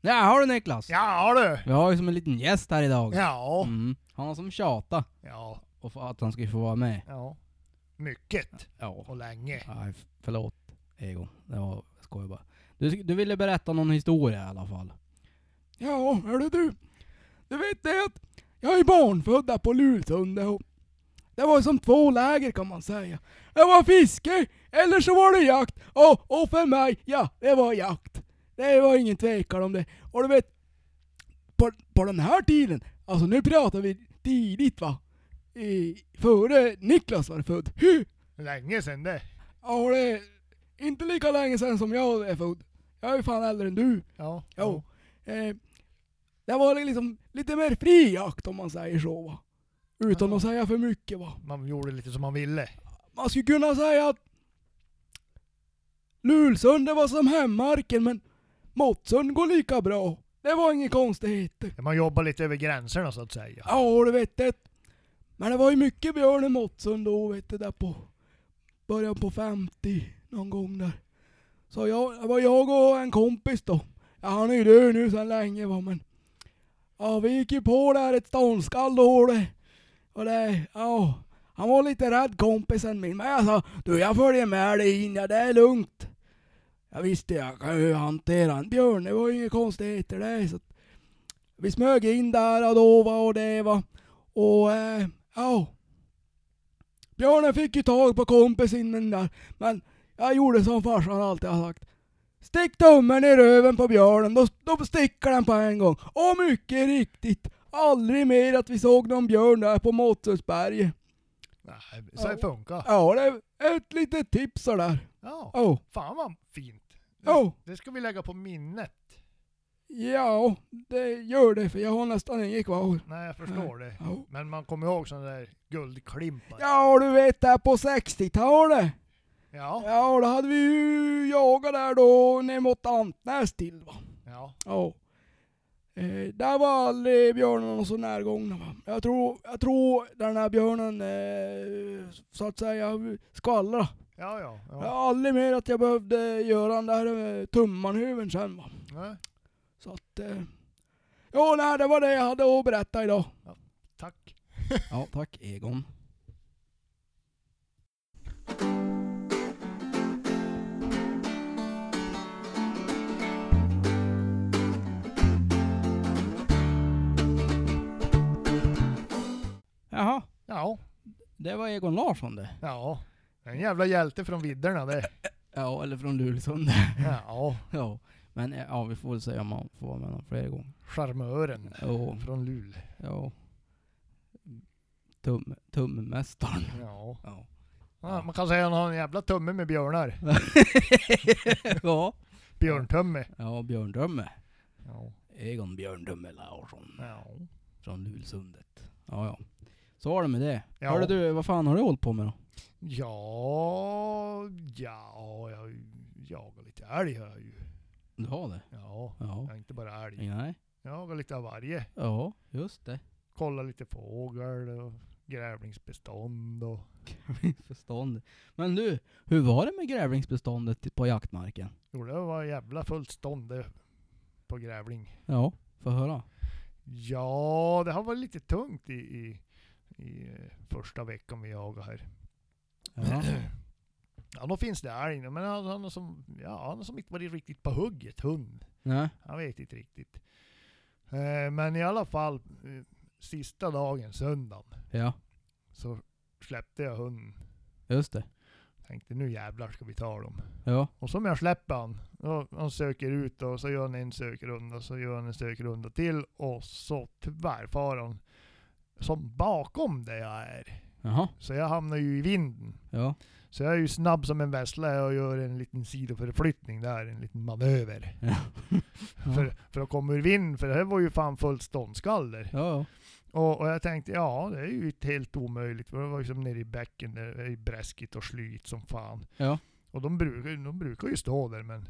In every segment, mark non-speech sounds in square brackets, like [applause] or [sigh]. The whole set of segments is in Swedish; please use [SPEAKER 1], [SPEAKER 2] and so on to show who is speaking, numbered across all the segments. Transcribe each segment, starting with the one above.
[SPEAKER 1] Där har du Niklas!
[SPEAKER 2] Ja du!
[SPEAKER 1] Vi har ju som en liten gäst här idag.
[SPEAKER 2] Ja,
[SPEAKER 1] Mm. Han som tjata
[SPEAKER 2] ja,
[SPEAKER 1] och för att han skulle få vara med.
[SPEAKER 2] ja. Mycket
[SPEAKER 1] Ja.
[SPEAKER 2] och länge.
[SPEAKER 1] Nej, f- förlåt Egon. Det var, jag skojar bara. Du, du ville berätta någon historia i alla fall. Ja, hörru du. Du vet det att jag är barnfödda på Lulsunda och det var som två läger kan man säga. Det var fiske, eller så var det jakt. Och, och för mig, ja, det var jakt. Det var ingen tvekan om det. Och du vet, på, på den här tiden, alltså nu pratar vi tidigt va. I, före Niklas var född.
[SPEAKER 2] Länge sen det.
[SPEAKER 1] Ja, det är inte lika länge sedan som jag är född. Jag är ju fan äldre än du.
[SPEAKER 2] Ja.
[SPEAKER 1] Jo. Eh, det var liksom lite mer fri jakt om man säger så va. Utan
[SPEAKER 2] Ja.
[SPEAKER 1] att säga för mycket va.
[SPEAKER 2] Man gjorde lite som man ville.
[SPEAKER 1] Man skulle kunna säga att Lulsund det var som hemmarken men Måttsund går lika bra. Det var inga konstigheter.
[SPEAKER 2] Man jobbar lite över gränserna så att säga.
[SPEAKER 1] Ja, du vet det. Men det var ju mycket björn i Måttsund då, vet du, där på början på 50 någon gång där. Så jag, det var jag och en kompis då. Ja, han är ju död nu sedan länge va, men ja, vi gick ju på där ett ståndskall då och det, och det, ja, han var lite rädd kompisen min, men jag sa du jag följer med dig in, ja det är lugnt. Jag visste jag kan ju hantera en björn, det var ju inga konstigheter det. Så att, vi smög in där och då va och det va. Och eh, ja. Björnen fick ju tag på kompisen den där. Men jag gjorde som farsan alltid har sagt. Stick tummen i röven på björnen, då, då sticker den på en gång. Och mycket riktigt. Aldrig mer att vi såg någon björn där på Måttsundsberget.
[SPEAKER 2] Nej, så det
[SPEAKER 1] Ja.
[SPEAKER 2] funkar.
[SPEAKER 1] Ja, det är ett litet tips sådär.
[SPEAKER 2] Ja.
[SPEAKER 1] Oh,
[SPEAKER 2] Fan vad fint.
[SPEAKER 1] oh.
[SPEAKER 2] Det ska vi lägga på minnet.
[SPEAKER 1] Ja, det gör det för jag har nästan inget kvar.
[SPEAKER 2] Nej, jag förstår det.
[SPEAKER 1] Ja.
[SPEAKER 2] Men man kommer ihåg sådana där guldklimpar.
[SPEAKER 1] Mm. Ja, du vet där på 60-talet.
[SPEAKER 2] Ja.
[SPEAKER 1] Ja, då hade vi ju jagat där då ner mot Antnäs till va.
[SPEAKER 2] Ja.
[SPEAKER 1] Ja. Eh, där var aldrig björnarna så närgångna va. Jag tror, jag tror den här björnen eh, så att säga skvallrade.
[SPEAKER 2] Ja, ja.
[SPEAKER 1] Jag
[SPEAKER 2] ja.
[SPEAKER 1] har aldrig mer att jag behövde göra den där eh, tummanhuven sen va.
[SPEAKER 2] Nej.
[SPEAKER 1] Så att... Eh, jo, nej, det var det jag hade att berätta idag.
[SPEAKER 2] Tack.
[SPEAKER 1] Ja, tack Egon. Jaha,
[SPEAKER 2] Ja.
[SPEAKER 1] det var Egon Larsson det.
[SPEAKER 2] Ja. En jävla hjälte från vidderna det.
[SPEAKER 1] [laughs] Ja, eller från Lulesund.
[SPEAKER 2] Ja.
[SPEAKER 1] [laughs] ja, men eh, ja, vi får väl se om man får vara med honom fler gånger.
[SPEAKER 2] Charmören
[SPEAKER 1] Jo,
[SPEAKER 2] från Lul.
[SPEAKER 1] ja. Tum, tummästaren.
[SPEAKER 2] Ja.
[SPEAKER 1] Ja.
[SPEAKER 2] Ja, man kan säga att han har en jävla tumme med björnar.
[SPEAKER 1] ja.
[SPEAKER 2] Björntumme.
[SPEAKER 1] Ja, Björndöme.
[SPEAKER 2] Ja.
[SPEAKER 1] Egon Björndöme Larsson
[SPEAKER 2] Ja.
[SPEAKER 1] från Lulsundet. Ja, ja. Så var det med det.
[SPEAKER 2] Ja.
[SPEAKER 1] Hörde du, vad fan har du hållit på med då?
[SPEAKER 2] Ja, ja, jag jagar lite älg har jag ju.
[SPEAKER 1] Du har det?
[SPEAKER 2] Ja,
[SPEAKER 1] Ja.
[SPEAKER 2] jag är inte bara älg.
[SPEAKER 1] Nej.
[SPEAKER 2] Jag jagar lite av varje.
[SPEAKER 1] Ja, just det. [laughs]
[SPEAKER 2] Kollar lite fågel och grävlingsbestånd och...
[SPEAKER 1] Förstånd. Men du, hur var det med grävlingsbeståndet på jaktmarken?
[SPEAKER 2] Jo, det var jävla fullt stånd det på grävling.
[SPEAKER 1] Ja, får höra.
[SPEAKER 2] Ja, det har varit lite tungt i, i, i eh, första veckan vi jagade här.
[SPEAKER 1] [clears throat] Ja.
[SPEAKER 2] Mm. Ja, då finns det älg. Men han, han, har som, ja, han har som inte varit riktigt på hugget, hund.
[SPEAKER 1] Nej.
[SPEAKER 2] Han vet inte riktigt. Eh, men i alla fall, eh, sista dagen, söndagen,
[SPEAKER 1] Ja,
[SPEAKER 2] så släppte jag hunden.
[SPEAKER 1] just det.
[SPEAKER 2] Tänkte nu jävlar ska vi ta dem.
[SPEAKER 1] Ja.
[SPEAKER 2] Och som jag släpper han, och han söker ut och så gör han en sökrunda, så gör han en sökrunda till och så tvärfar han. Som bakom där jag är.
[SPEAKER 1] Jaha.
[SPEAKER 2] Så jag hamnar ju i vinden.
[SPEAKER 1] Ja.
[SPEAKER 2] Så jag är ju snabb som en vessla och gör en liten sidoförflyttning där, en liten manöver.
[SPEAKER 1] Ja.
[SPEAKER 2] [laughs] För, för att komma ur vind, för det här var ju fan fullt ståndskall där.
[SPEAKER 1] Ja, ja.
[SPEAKER 2] Och, och jag tänkte, ja det är ju ett helt omöjligt, för det var ju som nere i bäcken där, i bräskigt och slyt som fan.
[SPEAKER 1] Ja.
[SPEAKER 2] Och de, bruk, de brukar ju stå där men...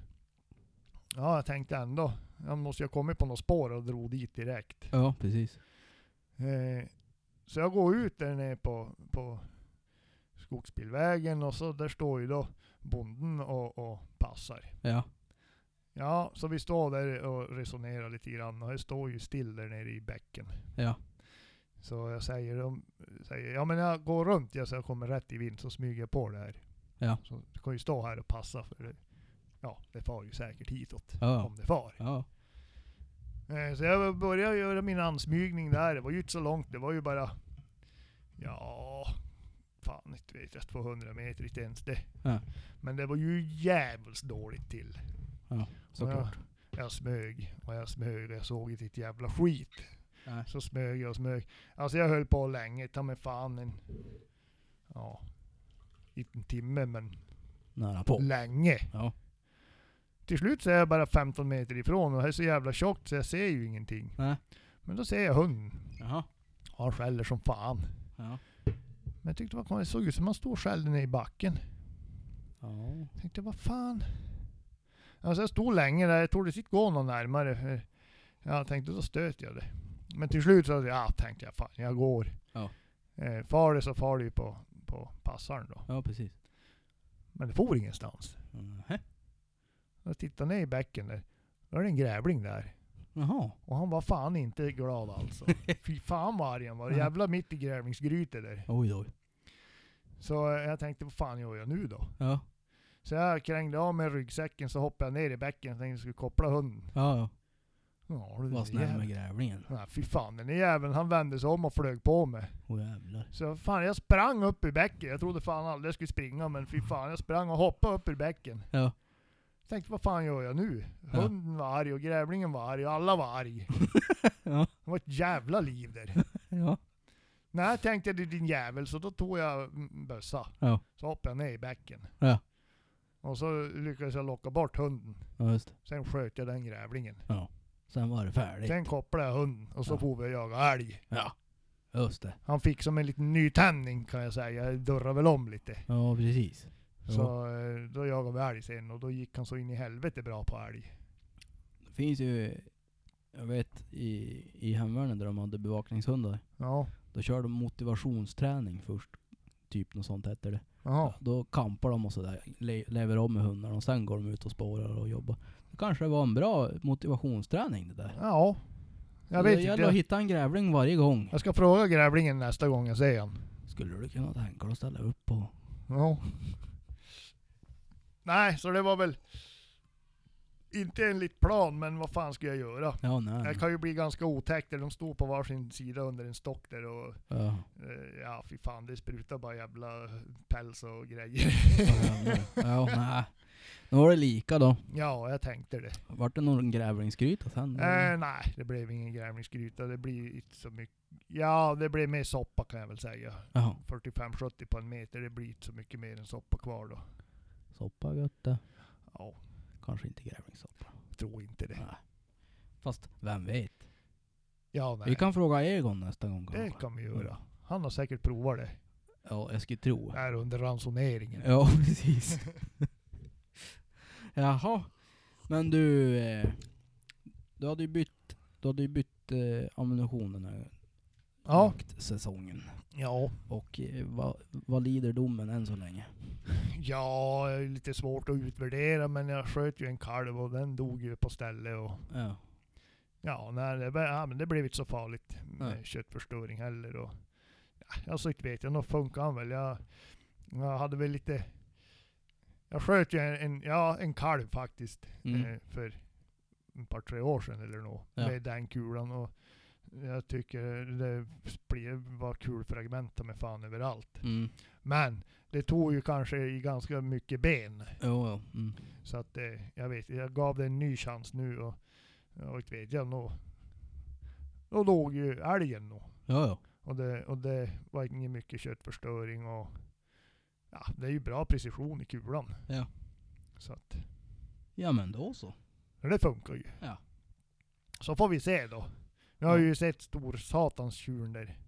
[SPEAKER 2] Ja, jag tänkte ändå, jag måste ju ha kommit på något spår och drog dit direkt.
[SPEAKER 1] Ja, precis.
[SPEAKER 2] Eh, så jag går ut där nere på, på skogsbilvägen och så där står ju då bonden och, och passar
[SPEAKER 1] Ja.
[SPEAKER 2] Ja, så vi står där och resonerar lite grann och jag står ju still där nere i bäcken.
[SPEAKER 1] Ja.
[SPEAKER 2] Så jag säger, de säger ja men jag går runt, jag, så jag kommer rätt i vind så smyger jag på det här.
[SPEAKER 1] Ja.
[SPEAKER 2] Så jag kan ju stå här och passa för det, ja det far ju säkert hitåt
[SPEAKER 1] Ja.
[SPEAKER 2] om det far.
[SPEAKER 1] Ja.
[SPEAKER 2] Eh, Så jag började göra min ansmygning där, det var ju inte så långt, det var ju bara, ja, fan inte vet jag, 200 meter, inte ens det.
[SPEAKER 1] Ja.
[SPEAKER 2] Men det var ju jävligt dåligt till.
[SPEAKER 1] Såklart.
[SPEAKER 2] Jag, jag smög och jag smög och jag såg inte ett jävla skit.
[SPEAKER 1] Nej.
[SPEAKER 2] Så smög jag och smög. Alltså jag höll på länge, ta mig fan en... Ja. Inte en timme men
[SPEAKER 1] Nära på.
[SPEAKER 2] länge.
[SPEAKER 1] Ja.
[SPEAKER 2] Till slut så är jag bara 15 meter ifrån och det är så jävla tjockt så jag ser ju ingenting.
[SPEAKER 1] Nej.
[SPEAKER 2] Men då ser jag hunden.
[SPEAKER 1] Jaha.
[SPEAKER 2] Och han skäller som fan.
[SPEAKER 1] Ja.
[SPEAKER 2] Men jag tyckte det var konstigt, det såg ut som han stod och skällde ner i backen.
[SPEAKER 1] Ja.
[SPEAKER 2] Jag tänkte vad fan. Alltså jag stod länge där, jag trodde det sitt gå någon närmare. för Jag tänkte då stöt jag det. Men till slut så ja, tänkte jag fan jag går.
[SPEAKER 1] Ja.
[SPEAKER 2] Eh, far det så far det ju på, på passaren då.
[SPEAKER 1] Ja, precis.
[SPEAKER 2] Men det for ingenstans.
[SPEAKER 1] Nähä.
[SPEAKER 2] Jag tittade ner i bäcken där. Då är det en grävling där.
[SPEAKER 1] Jaha.
[SPEAKER 2] Och han var fan inte
[SPEAKER 1] [laughs]
[SPEAKER 2] glad alltså. Fy fan vad arg han var.
[SPEAKER 1] Ja.
[SPEAKER 2] Jävla mitt i grävlingsgrytet där.
[SPEAKER 1] Oj, oj.
[SPEAKER 2] Så eh, jag tänkte vad fan gör jag nu då?
[SPEAKER 1] Ja.
[SPEAKER 2] Så jag krängde av mig ryggsäcken så hoppade jag ner i bäcken och tänkte jag skulle koppla hunden.
[SPEAKER 1] Ja, ja.
[SPEAKER 2] Ja, du,
[SPEAKER 1] Var
[SPEAKER 2] den
[SPEAKER 1] snäll
[SPEAKER 2] jäveln.
[SPEAKER 1] med grävlingen.
[SPEAKER 2] Nej fy fan, den där jäveln han vände sig om och flög på mig.
[SPEAKER 1] Åh jävlar.
[SPEAKER 2] Så fan jag sprang upp i bäcken. Jag trodde fan aldrig jag skulle springa men fy fan jag sprang och hoppade upp ur bäcken.
[SPEAKER 1] Ja.
[SPEAKER 2] Tänkte vad fan gör jag nu?
[SPEAKER 1] Ja.
[SPEAKER 2] Hunden var arg och grävlingen var arg och alla
[SPEAKER 1] [laughs]
[SPEAKER 2] var arg.
[SPEAKER 1] Ja.
[SPEAKER 2] Det var ett jävla liv där.
[SPEAKER 1] Ja.
[SPEAKER 2] Nej tänkte jag "Du, din jävel så då tog jag mm, bössa.
[SPEAKER 1] Ja.
[SPEAKER 2] Så hoppade jag ner i bäcken.
[SPEAKER 1] Ja.
[SPEAKER 2] Och så lyckades jag locka bort hunden.
[SPEAKER 1] Ja, just det.
[SPEAKER 2] Sen sköt jag den grävlingen.
[SPEAKER 1] Sen var det färdigt.
[SPEAKER 2] Sen kopplade jag hunden och så
[SPEAKER 1] Ja.
[SPEAKER 2] for vi och jagade älg.
[SPEAKER 1] Ja. Just det.
[SPEAKER 2] Han fick som en liten nytändning kan jag säga. Jag dörrade väl om lite.
[SPEAKER 1] Ja, precis. Ja.
[SPEAKER 2] Så eh, då jagade vi älg sen och då gick han så in i helvete bra på älg.
[SPEAKER 1] Det finns ju, jag vet i, i hemvärnet där de hade bevakningshundar.
[SPEAKER 2] Ja.
[SPEAKER 1] Då kör de motivationsträning först. Typ något sånt hette det.
[SPEAKER 2] Jaha.
[SPEAKER 1] Då kampar de och sådär. Le, lever om med hundarna och sen går de ut och spårar och jobbar. Det kanske var en bra motivationsträning det där.
[SPEAKER 2] Ja. Jag
[SPEAKER 1] det
[SPEAKER 2] vet inte.
[SPEAKER 1] gäller att
[SPEAKER 2] Jag,
[SPEAKER 1] hitta en grävling varje gång.
[SPEAKER 2] jag ska fråga grävlingen nästa gång jag ser han.
[SPEAKER 1] Skulle du kunna tänka dig att ställa upp på?
[SPEAKER 2] Ja. Nej, så det var väl inte enligt plan, men vad fan ska jag göra?
[SPEAKER 1] Ja, nej.
[SPEAKER 2] Det kan ju bli ganska otäckt. där De stod på varsin sida under en stock där och
[SPEAKER 1] Ja.
[SPEAKER 2] eh, ja, fy fan, det sprutar bara jävla päls och grejer.
[SPEAKER 1] Ja, ja, nej. Nu var det lika då.
[SPEAKER 2] [laughs] Ja, jag tänkte det.
[SPEAKER 1] Vart det någon grävlingsgryta sen?
[SPEAKER 2] Eh, nej, det blev ingen grävlingsgryta. Det blir inte så mycket. Ja, det blev mer soppa kan jag väl säga.
[SPEAKER 1] Jaha.
[SPEAKER 2] 45-70 på en meter, det blir inte så mycket mer än soppa kvar då.
[SPEAKER 1] Soppa gött det.
[SPEAKER 2] Ja,
[SPEAKER 1] Kanske inte grävlingssoppa.
[SPEAKER 2] jag tror inte det.
[SPEAKER 1] Nej. Fast vem vet?
[SPEAKER 2] Ja,
[SPEAKER 1] Vi
[SPEAKER 2] nej.
[SPEAKER 1] kan fråga Egon nästa gång
[SPEAKER 2] Det
[SPEAKER 1] kanske.
[SPEAKER 2] kan vi göra. Han har säkert provat det.
[SPEAKER 1] Ja, jag skulle tro.
[SPEAKER 2] Här under ransoneringen.
[SPEAKER 1] Ja, [laughs]
[SPEAKER 2] [laughs]
[SPEAKER 1] precis. Jaha. Men du, eh, du hade ju bytt, du hade ju bytt eh, ammunition den här
[SPEAKER 2] Ja,
[SPEAKER 1] jaktsäsongen.
[SPEAKER 2] ja.
[SPEAKER 1] Och eh, vad, vad lider domen än så länge?
[SPEAKER 2] Ja, det är lite svårt att utvärdera men jag sköt ju en kalv och den dog ju på stället och
[SPEAKER 1] Ja.
[SPEAKER 2] Ja, nej, det, var- ja, men det blev inte så farligt med
[SPEAKER 1] Nej.
[SPEAKER 2] köttförstöring heller. Och, ja, alltså inte vet jag, nog funkar han väl. Jag, jag hade väl lite... Jag sköt ju en, en, ja, en kalv faktiskt
[SPEAKER 1] Mm.
[SPEAKER 2] eh, för ett par tre år sedan eller något
[SPEAKER 1] Ja.
[SPEAKER 2] med den kulan. Och jag tycker det blev, var kulfragment ta mig fan överallt.
[SPEAKER 1] Mm.
[SPEAKER 2] Men det tog ju kanske i ganska mycket ben.
[SPEAKER 1] Jo, jo. Mm.
[SPEAKER 2] Så att eh, jag vet, jag gav det en ny chans nu och jag vet, vet jag nog. Då låg ju älgen då.
[SPEAKER 1] Ja, ja.
[SPEAKER 2] Och det, och det var inte mycket köttförstöring och ja, det är ju bra precision i kulan.
[SPEAKER 1] Ja.
[SPEAKER 2] Så att,
[SPEAKER 1] Ja men då så.
[SPEAKER 2] men det funkar ju.
[SPEAKER 1] Ja.
[SPEAKER 2] Så får vi se då. Jag har
[SPEAKER 1] Ja.
[SPEAKER 2] ju sett stor satans tjurn där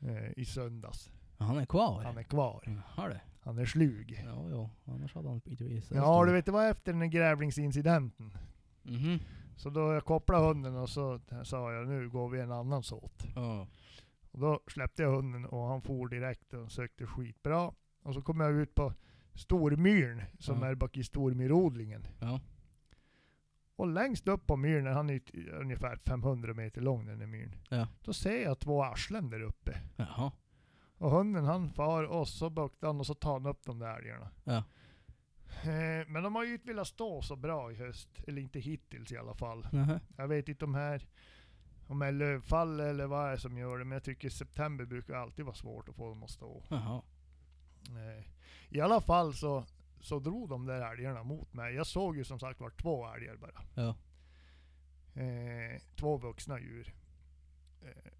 [SPEAKER 2] eh, i söndags.
[SPEAKER 1] Ja, Han är kvar?
[SPEAKER 2] Han är kvar.
[SPEAKER 1] Jaha det.
[SPEAKER 2] Han är slug.
[SPEAKER 1] Ja, ja. Annars hade han inte visat
[SPEAKER 2] Ja, du vet, det var efter den här grävlingsincidenten.
[SPEAKER 1] Mhm.
[SPEAKER 2] Så då jag kopplade hunden och så sa jag nu går vi en annan såt.
[SPEAKER 1] Ja.
[SPEAKER 2] Och då släppte jag hunden och han for direkt och sökte skitbra. Och så kom jag ut på Stormyren som
[SPEAKER 1] Ja.
[SPEAKER 2] är bak i Stormyrodlingen.
[SPEAKER 1] Ja.
[SPEAKER 2] Och längst upp på myren, han är ju ungefär 500 meter lång den här myren.
[SPEAKER 1] Ja.
[SPEAKER 2] Då ser jag två arslen där uppe.
[SPEAKER 1] Jaha.
[SPEAKER 2] Och hunden han far och så buktar han och så tar han upp de där älgarna.
[SPEAKER 1] Ja.
[SPEAKER 2] Eh, men de har ju inte velat stå så bra i höst. Eller inte hittills i alla fall.
[SPEAKER 1] Nähä.
[SPEAKER 2] Jag vet inte om här om det är lövfall eller vad det är som gör det. Men jag tycker september brukar alltid vara svårt att få dem att stå.
[SPEAKER 1] Jaha.
[SPEAKER 2] Eh, I alla fall så, så drog de där älgarna mot mig. Jag såg ju som sagt var två älgar bara.
[SPEAKER 1] Ja.
[SPEAKER 2] Eh, två vuxna djur. Eh,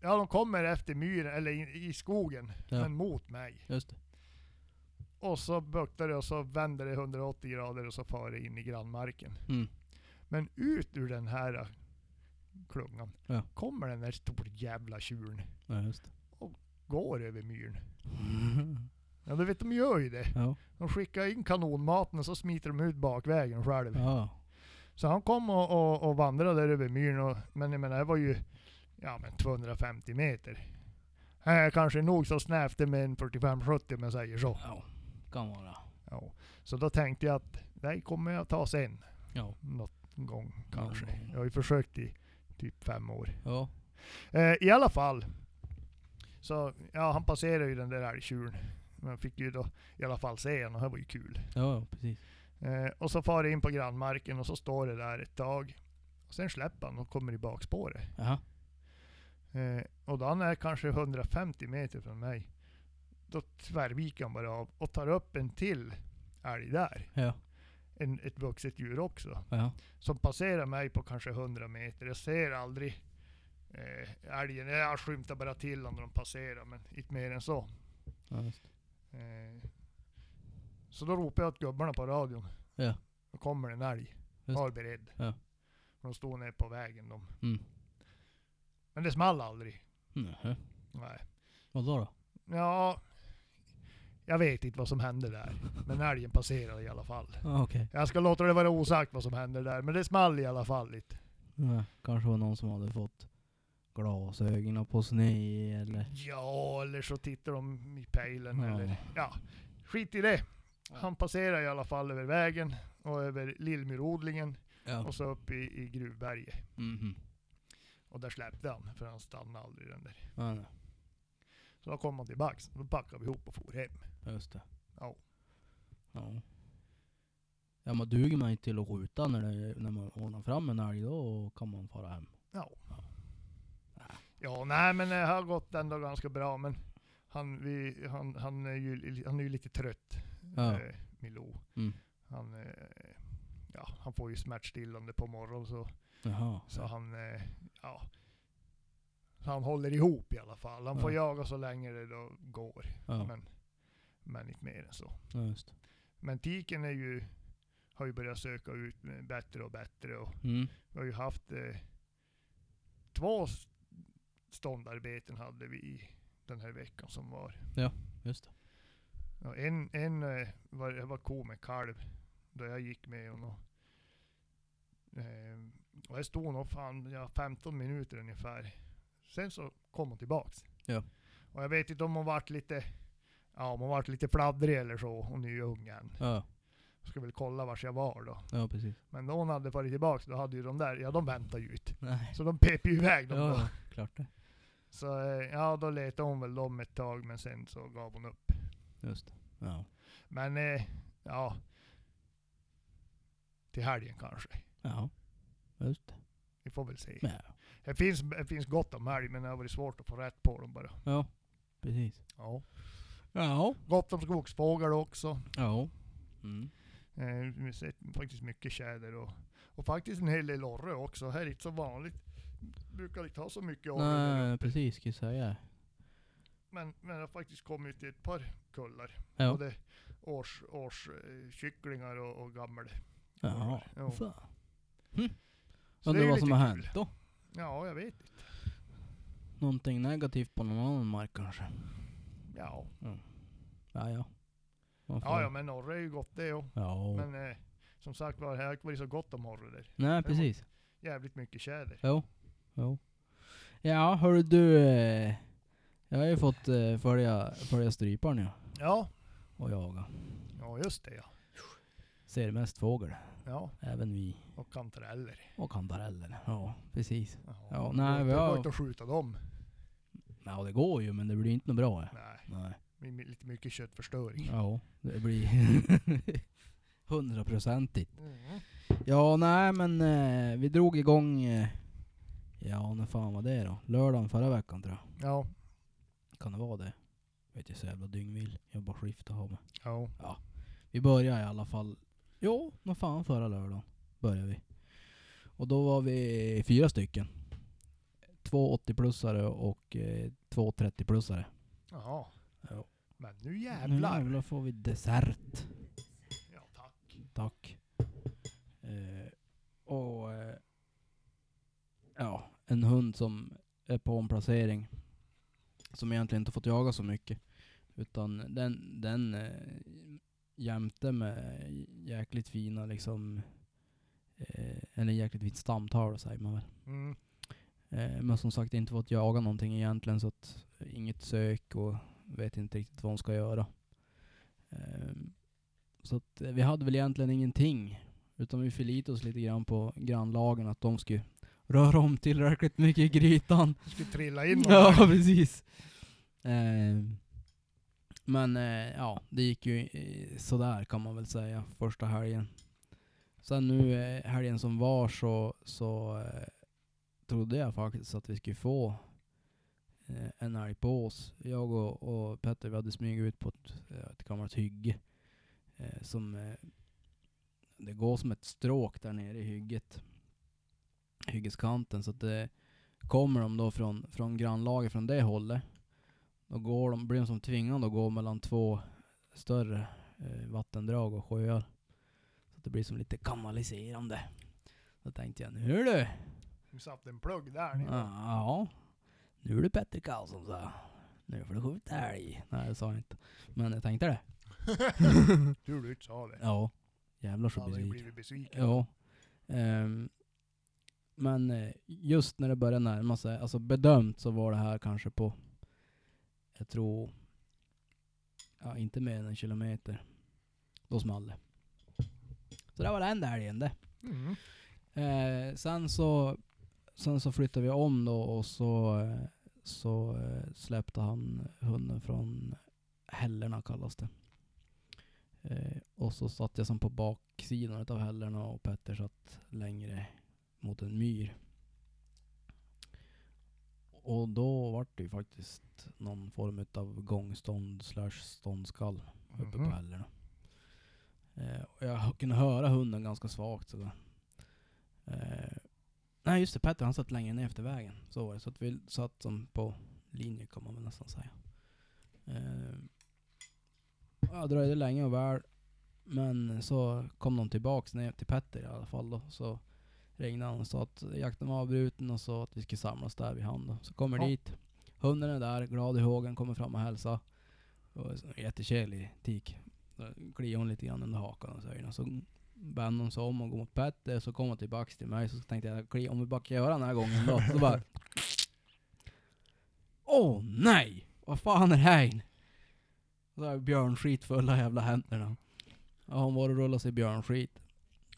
[SPEAKER 2] ja, de kommer efter myren, eller i, i skogen,
[SPEAKER 1] Ja.
[SPEAKER 2] men mot mig.
[SPEAKER 1] Just det.
[SPEAKER 2] Och så buktar det och så vänder det 180 grader och så far det in i grannmarken.
[SPEAKER 1] Mm.
[SPEAKER 2] Men ut ur den här eh, klungan
[SPEAKER 1] Ja.
[SPEAKER 2] kommer den där stor jävla tjuren.
[SPEAKER 1] Ja, just det.
[SPEAKER 2] Går över myren. Ja, du vet de gör ju det.
[SPEAKER 1] ja.
[SPEAKER 2] De skickar in kanonmaten och så smiter de ut bakvägen själv.
[SPEAKER 1] Ja.
[SPEAKER 2] Så han kom och, och, och vandrade där över myren. Och, men jag menar, det var ju ja, men 250 meter. Här kanske nog så snävt det med en 45-70 om jag säger så.
[SPEAKER 1] Ja. Kan vara.
[SPEAKER 2] Ja. Så då tänkte jag att det kommer jag ta sen.
[SPEAKER 1] Ja.
[SPEAKER 2] Något gång kanske.
[SPEAKER 1] gång.
[SPEAKER 2] Jag har ju försökt i typ fem år.
[SPEAKER 1] Ja.
[SPEAKER 2] Eh, I alla fall. Så ja, han passerade ju den där älgtjuren. Men fick ju då i alla fall se honom. Det här var ju kul.
[SPEAKER 1] Ja, ja, precis.
[SPEAKER 2] Eh, och så far det in på grannmarken och så står det där ett tag. Och sen släpper han och kommer i bakspåret.
[SPEAKER 1] Jaha.
[SPEAKER 2] Eh, och då han är kanske 150 meter från mig. Då tvärviker han bara av och tar upp en till älg där.
[SPEAKER 1] Ja.
[SPEAKER 2] En, ett vuxet djur också.
[SPEAKER 1] Ja.
[SPEAKER 2] Som passerar mig på kanske 100 meter. Jag ser aldrig eh, älgen. Jag skymtar bara till honom när de passerar men inte mer än så.
[SPEAKER 1] Ja, just det.
[SPEAKER 2] Eh, så då ropar jag åt gubbarna på radion.
[SPEAKER 1] Ja.
[SPEAKER 2] Då kommer en älg.
[SPEAKER 1] Just.
[SPEAKER 2] Var beredd.
[SPEAKER 1] Ja.
[SPEAKER 2] De stod ner på vägen de.
[SPEAKER 1] Mm.
[SPEAKER 2] Men det small aldrig.
[SPEAKER 1] Nähä.
[SPEAKER 2] Nej.
[SPEAKER 1] Vadå då?
[SPEAKER 2] Ja, jag vet inte vad som hände där.
[SPEAKER 1] [laughs]
[SPEAKER 2] Men älgen passerade i alla fall.
[SPEAKER 1] Ja, okej.
[SPEAKER 2] Jag ska låta det vara osagt vad som hände där. Men det small i alla fall lite.
[SPEAKER 1] Ja, kanske var någon som hade fått glasögonen på sned eller...
[SPEAKER 2] Ja, eller så tittar de i pejlen.
[SPEAKER 1] Ja.
[SPEAKER 2] Eller, ja, skit i det. Han passerar i alla fall över vägen och över lillmyrodlingen
[SPEAKER 1] Ja.
[SPEAKER 2] och så upp i, i Gruvberget.
[SPEAKER 1] Mhm.
[SPEAKER 2] Och där släppte han, för han stannade aldrig den där.
[SPEAKER 1] Ja, nej.
[SPEAKER 2] Så då kom han tillbaks. Då packade vi ihop och for hem.
[SPEAKER 1] Just det.
[SPEAKER 2] Ja.
[SPEAKER 1] Ja. Ja man duger man inte till att skjuta när, det, när man ordnar fram en älg då kan man fara hem.
[SPEAKER 2] Ja. Ja, nej men det har gått ändå ganska bra. Men han, vi, han, han, är, ju, han är ju lite trött,
[SPEAKER 1] Ja.
[SPEAKER 2] eh, Milou.
[SPEAKER 1] Mm.
[SPEAKER 2] Han, eh, ja, han får ju smärtstillande på morgonen så,
[SPEAKER 1] Jaha.
[SPEAKER 2] så han, eh, ja. Så han håller ihop i alla fall. Han får
[SPEAKER 1] Ja.
[SPEAKER 2] jaga så länge det då går.
[SPEAKER 1] Ja.
[SPEAKER 2] Men, men inte mer än så.
[SPEAKER 1] ja, just det.
[SPEAKER 2] Men tiken är ju, har ju börjat söka ut eh, bättre och bättre. Och
[SPEAKER 1] Mm.
[SPEAKER 2] vi har ju haft eh, två s- ståndarbeten hade vi i den här veckan som var.
[SPEAKER 1] Just det.
[SPEAKER 2] Ja, en en eh, var, jag var ko med kalv då jag gick med honom. Eh, och jag stod nog fan, ja, 15 minuter ungefär. Sen så kom hon tillbaks.
[SPEAKER 1] Ja.
[SPEAKER 2] Och jag vet inte om hon vart lite, ja om hon vart lite fladdrig eller så. Hon är ju ung än.
[SPEAKER 1] Ja.
[SPEAKER 2] Ska väl kolla vart jag var då.
[SPEAKER 1] Ja precis.
[SPEAKER 2] Men när hon hade varit tillbaks då hade ju de där, ja de väntade ju ut.
[SPEAKER 1] Nej.
[SPEAKER 2] Så de pep ju iväg
[SPEAKER 1] Ja,
[SPEAKER 2] dem då.
[SPEAKER 1] ja, klart det.
[SPEAKER 2] Så eh, ja, då letade hon väl dem ett tag men sen så gav hon upp.
[SPEAKER 1] Just det. Ja.
[SPEAKER 2] Men eh, ja, till helgen kanske.
[SPEAKER 1] Ja. Just det.
[SPEAKER 2] Vi får väl se.
[SPEAKER 1] Ja.
[SPEAKER 2] Det finns, det finns gott om älg men det har varit svårt att få rätt på dem bara.
[SPEAKER 1] Ja. Precis.
[SPEAKER 2] Ja.
[SPEAKER 1] Ja.
[SPEAKER 2] Gott om skogsfåglar också.
[SPEAKER 1] Ja. Mm.
[SPEAKER 2] Eh, vi har sett faktiskt mycket tjäder och, och faktiskt en hel del orre också. Här är inte så vanligt. Brukar inte ha så mycket orre. där.
[SPEAKER 1] Nej precis ska jag säga.
[SPEAKER 2] Men, men det har faktiskt kommit till ett par kullar.
[SPEAKER 1] Ja.
[SPEAKER 2] Både års, års, eh, kycklingar och, och gamla.
[SPEAKER 1] Jaha.
[SPEAKER 2] Ja.
[SPEAKER 1] Fan.
[SPEAKER 2] Så det är
[SPEAKER 1] Undrar
[SPEAKER 2] ju
[SPEAKER 1] vad som
[SPEAKER 2] lite
[SPEAKER 1] har
[SPEAKER 2] kul.
[SPEAKER 1] hänt då?
[SPEAKER 2] Ja, jag vet.
[SPEAKER 1] Någonting negativt på någon annan mark kanske?
[SPEAKER 2] Ja,
[SPEAKER 1] Ja ja. Man får-
[SPEAKER 2] ja, ja men orre är ju gott det och.
[SPEAKER 1] Ja.
[SPEAKER 2] Men eh, som sagt var, här var det så gott om orre där.
[SPEAKER 1] Nej precis.
[SPEAKER 2] Jävligt mycket tjäder.
[SPEAKER 1] Jo. Jo. Ja hörru du. eh, Jag har ju fått eh, följa, följa stryparen ja.
[SPEAKER 2] Ja,
[SPEAKER 1] Och jaga.
[SPEAKER 2] ja just det ja.
[SPEAKER 1] Ser mest fågel.
[SPEAKER 2] Ja,
[SPEAKER 1] Även vi.
[SPEAKER 2] och kantareller.
[SPEAKER 1] Och kantareller. Ja, precis. Ja,
[SPEAKER 2] det
[SPEAKER 1] nej,
[SPEAKER 2] går-
[SPEAKER 1] vi
[SPEAKER 2] det
[SPEAKER 1] har-
[SPEAKER 2] går inte att skjuta dem.
[SPEAKER 1] Ja, det går ju men det blir inte något bra. ja.
[SPEAKER 2] Nej,
[SPEAKER 1] Nej.
[SPEAKER 2] det är lite mycket köttförstöring.
[SPEAKER 1] Ja, det blir [laughs] hundraprocentigt.
[SPEAKER 2] Mm.
[SPEAKER 1] Ja, nej men eh, vi drog igång, eh, ja när fan var det då? Lördagen förra veckan tror jag.
[SPEAKER 2] Ja,
[SPEAKER 1] Kan det vara det? Vet jag så jävla dyngvill. Jag har bara skift att ha med.
[SPEAKER 2] ja.
[SPEAKER 1] Vi började i alla fall, jo, när fan förra lördagen började vi. Och då var vi fyra stycken. Två 80-plussare och eh, två 30-plussare.
[SPEAKER 2] Jaha.
[SPEAKER 1] Ja.
[SPEAKER 2] Men nu
[SPEAKER 1] Nu
[SPEAKER 2] jävlar.
[SPEAKER 1] jävlar får vi dessert.
[SPEAKER 2] Ja, tack.
[SPEAKER 1] Tack. Eh, och eh, ja, en hund som är på omplacering. Som egentligen inte fått jaga så mycket. Utan den, den eh, jämte med jäkligt fina liksom eh, eller jäkligt fint stamtavla säger man väl.
[SPEAKER 2] Mm.
[SPEAKER 1] Eh, men som sagt inte fått jaga någonting egentligen så att eh, inget sök och vet inte riktigt vad hon ska göra. Ehm, så att eh, vi hade väl egentligen ingenting. Utan vi förlitade oss lite grann på grannlagen att de skulle röra om tillräckligt mycket i grytan.
[SPEAKER 2] Det skulle trilla in någon
[SPEAKER 1] Ja,
[SPEAKER 2] där.
[SPEAKER 1] precis. Ehm, men eh, ja, det gick ju eh, sådär kan man väl säga första helgen. Sen nu eh, helgen som var så, så eh, trodde jag faktiskt att vi skulle få eh, en älg på oss. Jag och, och Petter vi hade smugit ut på ett, eh, ett gammalt hygge. Eh, som, eh, det går som ett stråk där nere i hygget. Hyggeskanten. Så att det, kommer de då från, från grannlaget från det hållet. Då går de, blir de som tvingade att gå mellan två större eh, vattendrag och sjöar. Så att det blir som lite kanaliserande. Då tänkte jag, nu du!
[SPEAKER 2] Nu satt en plugg där. nere.
[SPEAKER 1] Ja, nu är du Petter Karlsson sa jag. Nu får du skjuta älg. Nej det sa jag inte. Men jag tänkte det.
[SPEAKER 2] [laughs] Tur du inte sa det.
[SPEAKER 1] Ja. Jävlar så
[SPEAKER 2] Jag hade ju
[SPEAKER 1] besviken.
[SPEAKER 2] blivit besviken.
[SPEAKER 1] Ja. Ehm, men eh, just när det började närma sig, alltså bedömt så var det här kanske på, jag tror, ja inte mer än en kilometer. Då small det. Så det var den där igen det.
[SPEAKER 2] Mm.
[SPEAKER 1] Eh, sen så Sen så flyttade vi om då och så, eh, så eh, släppte han hunden från hällerna kallas det. Eh, och så satt jag som på baksidan utav hällerna och Petter satt längre mot en myr. Och då var det ju faktiskt någon form utav gångstånd slash ståndskall uppe
[SPEAKER 2] Mhm.
[SPEAKER 1] på hällerna. Eh, och jag kunde höra hunden ganska svagt sådär. Eh, nej just det, Petter han satt längre ner efter vägen. Så var det. Så att vi satt som på linje kan man väl nästan säga. Eh, jag dröjde länge och väl. Men så kom de tillbaks ner till Petter i alla fall då. Så ringde han och sa att jakten var avbruten och så att vi skulle samlas där vid han då. Så kommer
[SPEAKER 2] Ja.
[SPEAKER 1] dit. Hunden är där, glad i hågen, kommer fram och hälsar. Och en sån jättekärlig tik. Då kliar hon lite grann under hakan och så här. Och så vänder hon sig om och går mot Petter. Så kommer hon tillbaks till mig. Så tänkte jag, "Kli- om vi bara kan göra den här gången då. Så bara... [laughs] Åh nej! Vad fan är det här? inne?" Så här björnskit fulla jävla händerna. Ja, hon var och rullade sig i björnskit.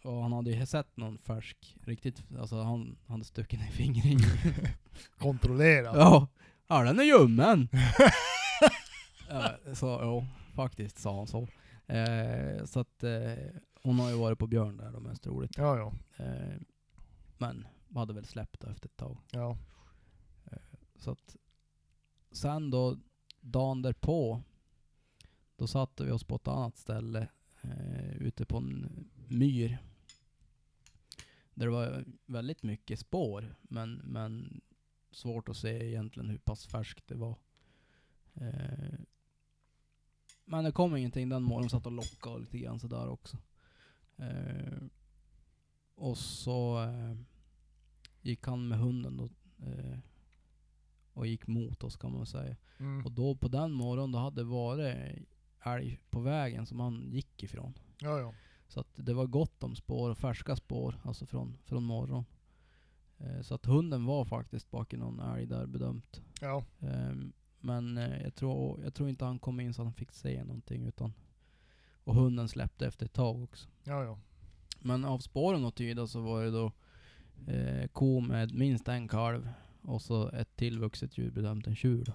[SPEAKER 1] Och han hade ju sett någon färsk, riktigt, alltså han han hade stuckit ner fingret.
[SPEAKER 2] Kontrollera.
[SPEAKER 1] Ja. ja, den är ljummen. [laughs] Ja, så, ja, faktiskt sa han så. Eh, så att eh, hon har ju varit på björn där då mest roligt.
[SPEAKER 2] Ja, ja.
[SPEAKER 1] Eh, men hade väl släppt då efter ett tag.
[SPEAKER 2] ja.
[SPEAKER 1] Så att, sen då, dagen därpå, då satte vi oss på ett annat ställe eh, ute på en myr. Där det var väldigt mycket spår, men, men svårt att se egentligen hur pass färskt det var. Eh, men det kom ingenting den morgonen, satt och lockade lite grann sådär också. Eh, och så eh, gick han med hunden då, eh, och gick mot oss kan man väl säga.
[SPEAKER 2] Mm.
[SPEAKER 1] Och då på den morgonen då hade det varit älg på vägen som han gick ifrån.
[SPEAKER 2] Ja, ja.
[SPEAKER 1] Så att det var gott om spår och färska spår, alltså från, från morgon. Eh, så att hunden var faktiskt bak i någon älg där bedömt.
[SPEAKER 2] Ja,
[SPEAKER 1] Ehm, men eh, jag, tror, jag tror inte han kom in så att han fick se någonting utan... Och hunden släppte efter ett tag också.
[SPEAKER 2] ja, ja.
[SPEAKER 1] Men av spåren att tyda så var det då eh, ko med minst en kalv och så ett tillvuxet djur bedömt en tjur då.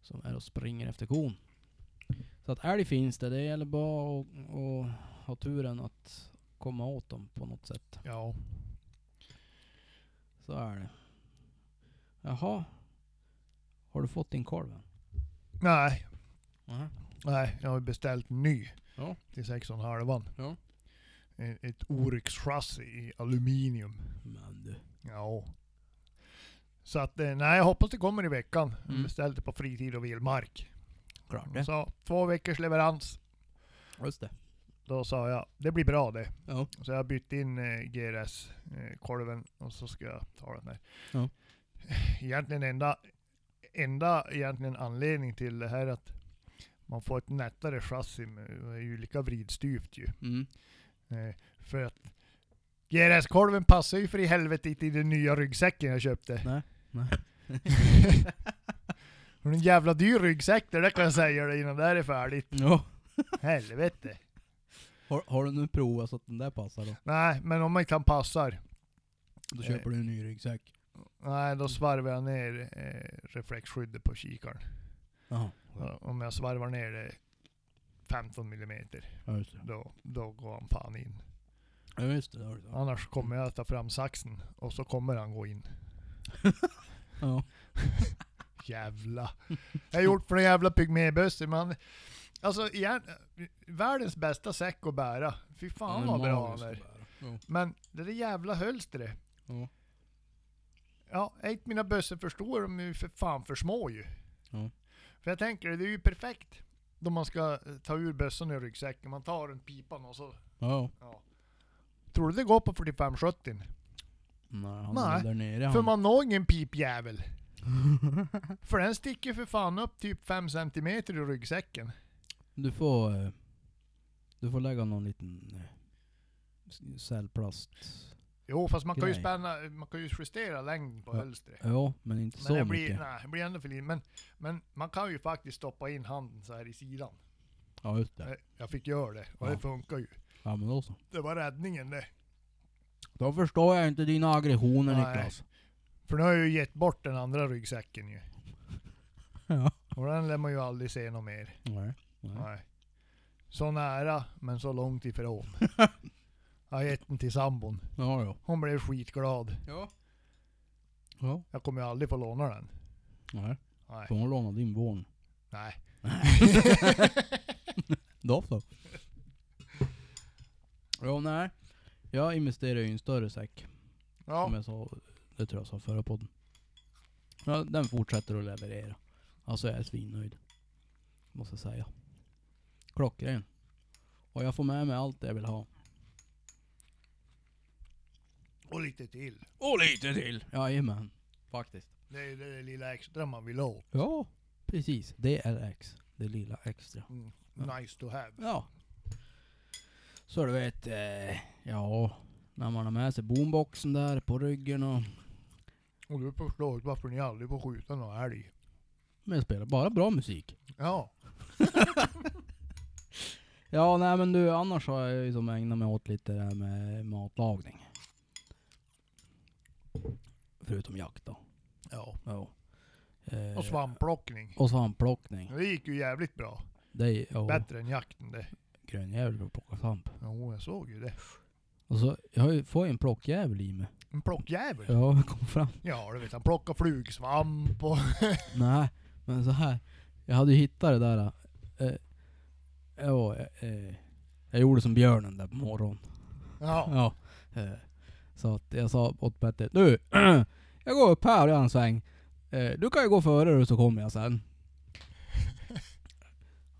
[SPEAKER 1] Som är och springer efter kon. Så att älg finns det, det gäller bara att att ha turen att komma åt dem på något sätt.
[SPEAKER 2] Ja.
[SPEAKER 1] Så är det. Jaha. Har du fått din korv än?
[SPEAKER 2] Nej,
[SPEAKER 1] Aha.
[SPEAKER 2] nej, jag har beställt ny.
[SPEAKER 1] Ja.
[SPEAKER 2] Till 6,5.
[SPEAKER 1] Ja.
[SPEAKER 2] E- Ett Oryx-chassi i aluminium.
[SPEAKER 1] Men du.
[SPEAKER 2] Ja. Så att, eh, nej jag hoppas det kommer i veckan.
[SPEAKER 1] Mm.
[SPEAKER 2] Jag beställde på fritid och vilmark.
[SPEAKER 1] Klart
[SPEAKER 2] De sa två veckors leverans.
[SPEAKER 1] Just det.
[SPEAKER 2] Då sa jag, det blir bra det.
[SPEAKER 1] Ja.
[SPEAKER 2] Så jag bytte in eh, GRS-kolven eh, och så ska jag ta den här.
[SPEAKER 1] Ja.
[SPEAKER 2] Egentligen enda, enda egentligen anledning till det här är att man får ett nättare chassi med med olika vridstyvt ju.
[SPEAKER 1] Mm.
[SPEAKER 2] Eh, För att GRS-kolven passar ju för i helvete inte i den nya ryggsäcken jag köpte.
[SPEAKER 1] Nej,
[SPEAKER 2] [laughs]
[SPEAKER 1] nej.
[SPEAKER 2] Det är en jävla dyr ryggsäck det där kan jag säga dig innan det här är färdigt.
[SPEAKER 1] Ja.
[SPEAKER 2] Helvete.
[SPEAKER 1] Har, har du nu provat så att den där passar då?
[SPEAKER 2] Nej, men om man inte han passar.
[SPEAKER 1] Då
[SPEAKER 2] Eh.
[SPEAKER 1] köper du en ny ryggsäck.
[SPEAKER 2] Nej, då svarvar jag ner eh, reflexskyddet på kikaren.
[SPEAKER 1] Jaha.
[SPEAKER 2] Ja, Om jag svarvar ner det 15 millimeter,
[SPEAKER 1] Ja just det.
[SPEAKER 2] då, då går han fan in.
[SPEAKER 1] Ja just det, det har du sagt.
[SPEAKER 2] Annars kommer jag att ta fram saxen och så kommer han gå in.
[SPEAKER 1] Ja.
[SPEAKER 2] Jävla. Jag har gjort för en jävla pygmébössor, men alltså igen, världens bästa säck att bära. Fy fan
[SPEAKER 1] Den
[SPEAKER 2] vad bra
[SPEAKER 1] magisk
[SPEAKER 2] han är.
[SPEAKER 1] att bära. Ja.
[SPEAKER 2] Men det där jävla hölstret.
[SPEAKER 1] Ja.
[SPEAKER 2] Ja, är inte mina bössor för stora, de är ju för fan för små ju.
[SPEAKER 1] Ja.
[SPEAKER 2] För jag tänker, det är ju perfekt då man ska eh, ta ur bössan ur ryggsäcken. Man tar en pipan och så,
[SPEAKER 1] ja.
[SPEAKER 2] ja. Tror du det går på 45-70?
[SPEAKER 1] Nej, han
[SPEAKER 2] Nej,
[SPEAKER 1] är där nere
[SPEAKER 2] För
[SPEAKER 1] han.
[SPEAKER 2] man når ingen pipjävel. [laughs] för den sticker för fan upp typ 5 cm ur ryggsäcken.
[SPEAKER 1] Du får... eh, Du får lägga någon liten... eh, s- Cellplast.
[SPEAKER 2] Jo, fast man kan ju
[SPEAKER 1] Grej.
[SPEAKER 2] spänna, man kan ju justera längden på
[SPEAKER 1] Ja.
[SPEAKER 2] hölstret.
[SPEAKER 1] Ja, men inte
[SPEAKER 2] Men
[SPEAKER 1] så
[SPEAKER 2] det blir,
[SPEAKER 1] mycket.
[SPEAKER 2] nej, det blir ändå för lite. Men, men man kan ju faktiskt stoppa in handen så här i sidan.
[SPEAKER 1] Ja just det.
[SPEAKER 2] Jag- Jag fick göra det och det
[SPEAKER 1] Ja.
[SPEAKER 2] funkar ju.
[SPEAKER 1] Ja men då så.
[SPEAKER 2] Det var räddningen det.
[SPEAKER 1] Då förstår jag inte dina aggressioner
[SPEAKER 2] Nej.
[SPEAKER 1] Niklas.
[SPEAKER 2] För nu har jag ju gett bort den andra ryggsäcken ju.
[SPEAKER 1] [laughs] Ja.
[SPEAKER 2] Och den lär man ju aldrig se något mer.
[SPEAKER 1] Nej. Nej.
[SPEAKER 2] Nej. Så nära, men så
[SPEAKER 1] [laughs]
[SPEAKER 2] långt ifrån. jag har gett den till sambon.
[SPEAKER 1] Ja, ja.
[SPEAKER 2] Hon blev skitglad.
[SPEAKER 1] Ja. Ja.
[SPEAKER 2] Jag kommer ju aldrig få låna den.
[SPEAKER 1] Nej.
[SPEAKER 2] Nej.
[SPEAKER 1] Får hon låna din vån?
[SPEAKER 2] Nej.
[SPEAKER 1] [laughs] Då så. Ja, nej. Jag investerar ju i en större säck. Som
[SPEAKER 2] Ja.
[SPEAKER 1] jag sa, det tror jag sa förra podden. Ja, den fortsätter att leverera. Alltså jag är svinnöjd. Måste jag säga. Klockren. Och jag får med mig allt jag vill ha.
[SPEAKER 2] Och lite till.
[SPEAKER 1] Och lite till! Jajamän. Faktiskt.
[SPEAKER 2] Det är det lilla extra man vill ha.
[SPEAKER 1] Ja, precis. Det är X. Det lilla extra.
[SPEAKER 2] Mm.
[SPEAKER 1] Ja.
[SPEAKER 2] Nice to have.
[SPEAKER 1] Ja. Så du vet, eh, ja, när man har med sig boomboxen där på ryggen och...
[SPEAKER 2] Och du förstår inte varför ni aldrig får skjuta någon älg.
[SPEAKER 1] Men jag spelar bara bra musik.
[SPEAKER 2] Ja.
[SPEAKER 1] Ja, nej men du, annars har jag ju som ägnat mig åt lite det här med matlagning. Förutom jakt då.
[SPEAKER 2] ja.
[SPEAKER 1] Ja. Eh,
[SPEAKER 2] Och svampplockning.
[SPEAKER 1] Och svampplockning.
[SPEAKER 2] Det gick ju jävligt bra.
[SPEAKER 1] Det är ja,
[SPEAKER 2] Bättre än jakten det.
[SPEAKER 1] grönjävel för att plocka svamp.
[SPEAKER 2] Jo, jag såg ju det.
[SPEAKER 1] Och så, jag har ju, får ju en plockjävel i mig.
[SPEAKER 2] En plockjävel.
[SPEAKER 1] Ja, [laughs] jag kom fram.
[SPEAKER 2] Ja, du vet han plockar flugsvamp och... [laughs]
[SPEAKER 1] Nej, men så här. Jag hade ju hittat det där. Eh, ja, eh, jag gjorde som björnen där på morgonen.
[SPEAKER 2] Ja.
[SPEAKER 1] Ja. Eh, så att jag sa åt Petter, du, [clears throat] jag går upp här och gör en sväng. Eh, du kan ju gå före du så kommer jag sen.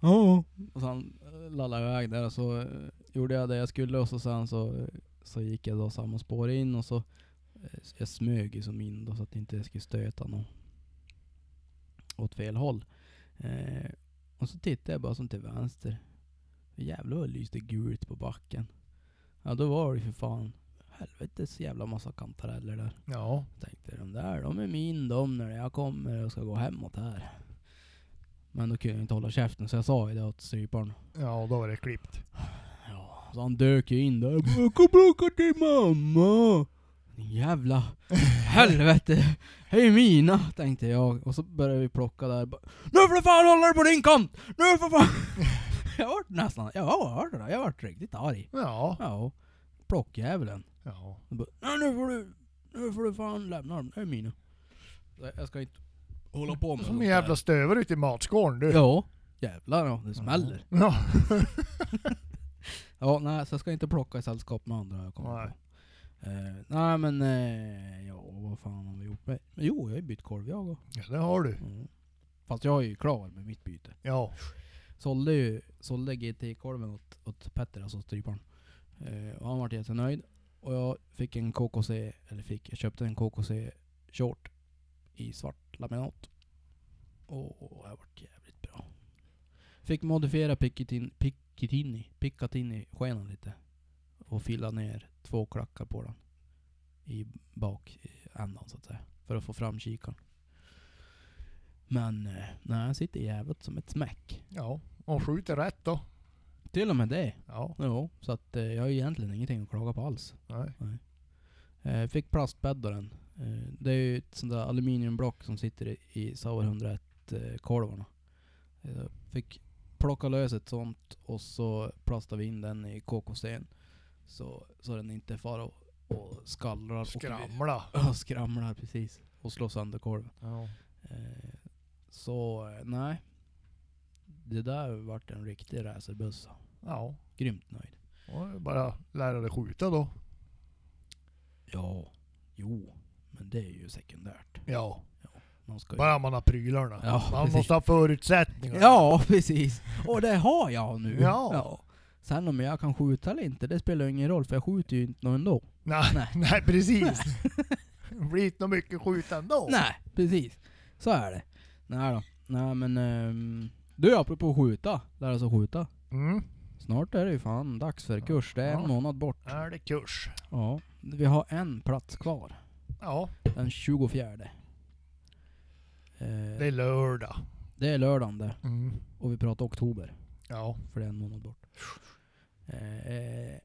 [SPEAKER 1] Ja. Och sen eh, lallade jag iväg där och så eh, gjorde jag det jag skulle och så sen så, eh, så gick jag då samma spår in och så eh, jag smög ju som in då så att jag inte skulle stöta någon åt fel håll. Eh, och så tittade jag bara som till vänster. Jävlar vad det lyste gult på backen. Ja då var det ju för fan helvetes jävla massa kantareller där.
[SPEAKER 2] Ja.
[SPEAKER 1] Jag tänkte de där, de är min de när jag kommer och ska gå hemåt här. Men då kunde jag inte hålla käften så jag sa ju det åt stryparen.
[SPEAKER 2] Ja, då var det klippt.
[SPEAKER 1] Ja, Så han dök ju in där. Jag bara, Jag kan bråka till mamma. Din jävla helvete. Det är ju mina, tänkte jag. Och så började vi plocka där. Bara, Nu för fan håller du på din kant! Nu för fan! jag vart nästan, jag vart det där. Jag vart riktigt arg.
[SPEAKER 2] Ja.
[SPEAKER 1] Ja. Plockjävulen.
[SPEAKER 2] ja.
[SPEAKER 1] Han bara, "Nej, nu får du, nu får du fan lämna dem, det är mina. Så jag ska inte hålla på med
[SPEAKER 2] Som
[SPEAKER 1] sånt
[SPEAKER 2] en jävla stöver ute i matskålen du. Mm.
[SPEAKER 1] där. Ja, jävlar ja, det smäller.
[SPEAKER 2] Ja.
[SPEAKER 1] Ja, nej, så jag ska inte plocka i sällskap med andra. Jag kommer
[SPEAKER 2] Nej.
[SPEAKER 1] nej. Eh, nej men, eh, ja vad fan har vi gjort med? Men Jo, jag har ju bytt kolv jag och.
[SPEAKER 2] ja, det har du.
[SPEAKER 1] Mm. Fast jag är ju klar med mitt byte.
[SPEAKER 2] Ja.
[SPEAKER 1] Sålde ju, sålde GT-kolven åt, åt Petter, alltså stryparen. Eh, och han vart jättenöjd. Och jag fick en KKC, eller fick, jag köpte en KKC short i svart laminat. Och jag vart jävligt bra. Fick modifiera Picatin- Picatinny, Picatinny-skenan lite. Och fila ner två klackar på den. I bak i ändan så att säga. För att få fram kikaren. Men eh, nej, den sitter jävligt som ett smäck.
[SPEAKER 2] Ja. Och skjuter rätt då.
[SPEAKER 1] Till och med det.
[SPEAKER 2] Ja.
[SPEAKER 1] Jo, så att eh, jag har ju egentligen ingenting att klaga på alls.
[SPEAKER 2] Nej.
[SPEAKER 1] Eh, fick plastbäddaren. Eh, det är ju ett sånt där aluminiumblock som sitter i, i Sauer 101 eh, kolvarna. Eh, fick plocka lös ett sånt och så plastade vi in den i KKC'n. Så, så den inte far och, och skallrar. [laughs] och-
[SPEAKER 2] Skramla.
[SPEAKER 1] Ja, skramlar precis. Och slår sönder kolven.
[SPEAKER 2] Ja.
[SPEAKER 1] Eh, så eh, nej. Det där vart en riktig racerbössa.
[SPEAKER 2] Ja.
[SPEAKER 1] Grymt nöjd.
[SPEAKER 2] Och det är bara att lära dig skjuta då.
[SPEAKER 1] Ja, jo, men det är ju sekundärt.
[SPEAKER 2] Ja.
[SPEAKER 1] Man ska ju...
[SPEAKER 2] Bara man har prylarna.
[SPEAKER 1] Ja,
[SPEAKER 2] man
[SPEAKER 1] precis.
[SPEAKER 2] måste ha förutsättningar.
[SPEAKER 1] Ja, precis. Och det har jag nu.
[SPEAKER 2] Ja.
[SPEAKER 1] Sen om jag kan skjuta eller inte, det spelar ju ingen roll för jag skjuter ju inte någon ändå.
[SPEAKER 2] Nej,
[SPEAKER 1] Nej.
[SPEAKER 2] [laughs] nej. precis. Det [laughs] blir inte mycket skjut ändå.
[SPEAKER 1] Nej, precis. Så är det. Nej då. Nej men... ehm, du, apropå skjuta. Lära sig skjuta.
[SPEAKER 2] Mm.
[SPEAKER 1] Snart är det ju fan dags för kurs. Det är en
[SPEAKER 2] Ja.
[SPEAKER 1] månad bort.
[SPEAKER 2] Är det kurs?
[SPEAKER 1] Ja. Vi har en plats kvar.
[SPEAKER 2] Ja,
[SPEAKER 1] Den 24. Eh,
[SPEAKER 2] det är lördag.
[SPEAKER 1] det är lördagen det.
[SPEAKER 2] Mm.
[SPEAKER 1] Och vi pratar oktober.
[SPEAKER 2] Ja,
[SPEAKER 1] för det är en månad bort. Eh, eh,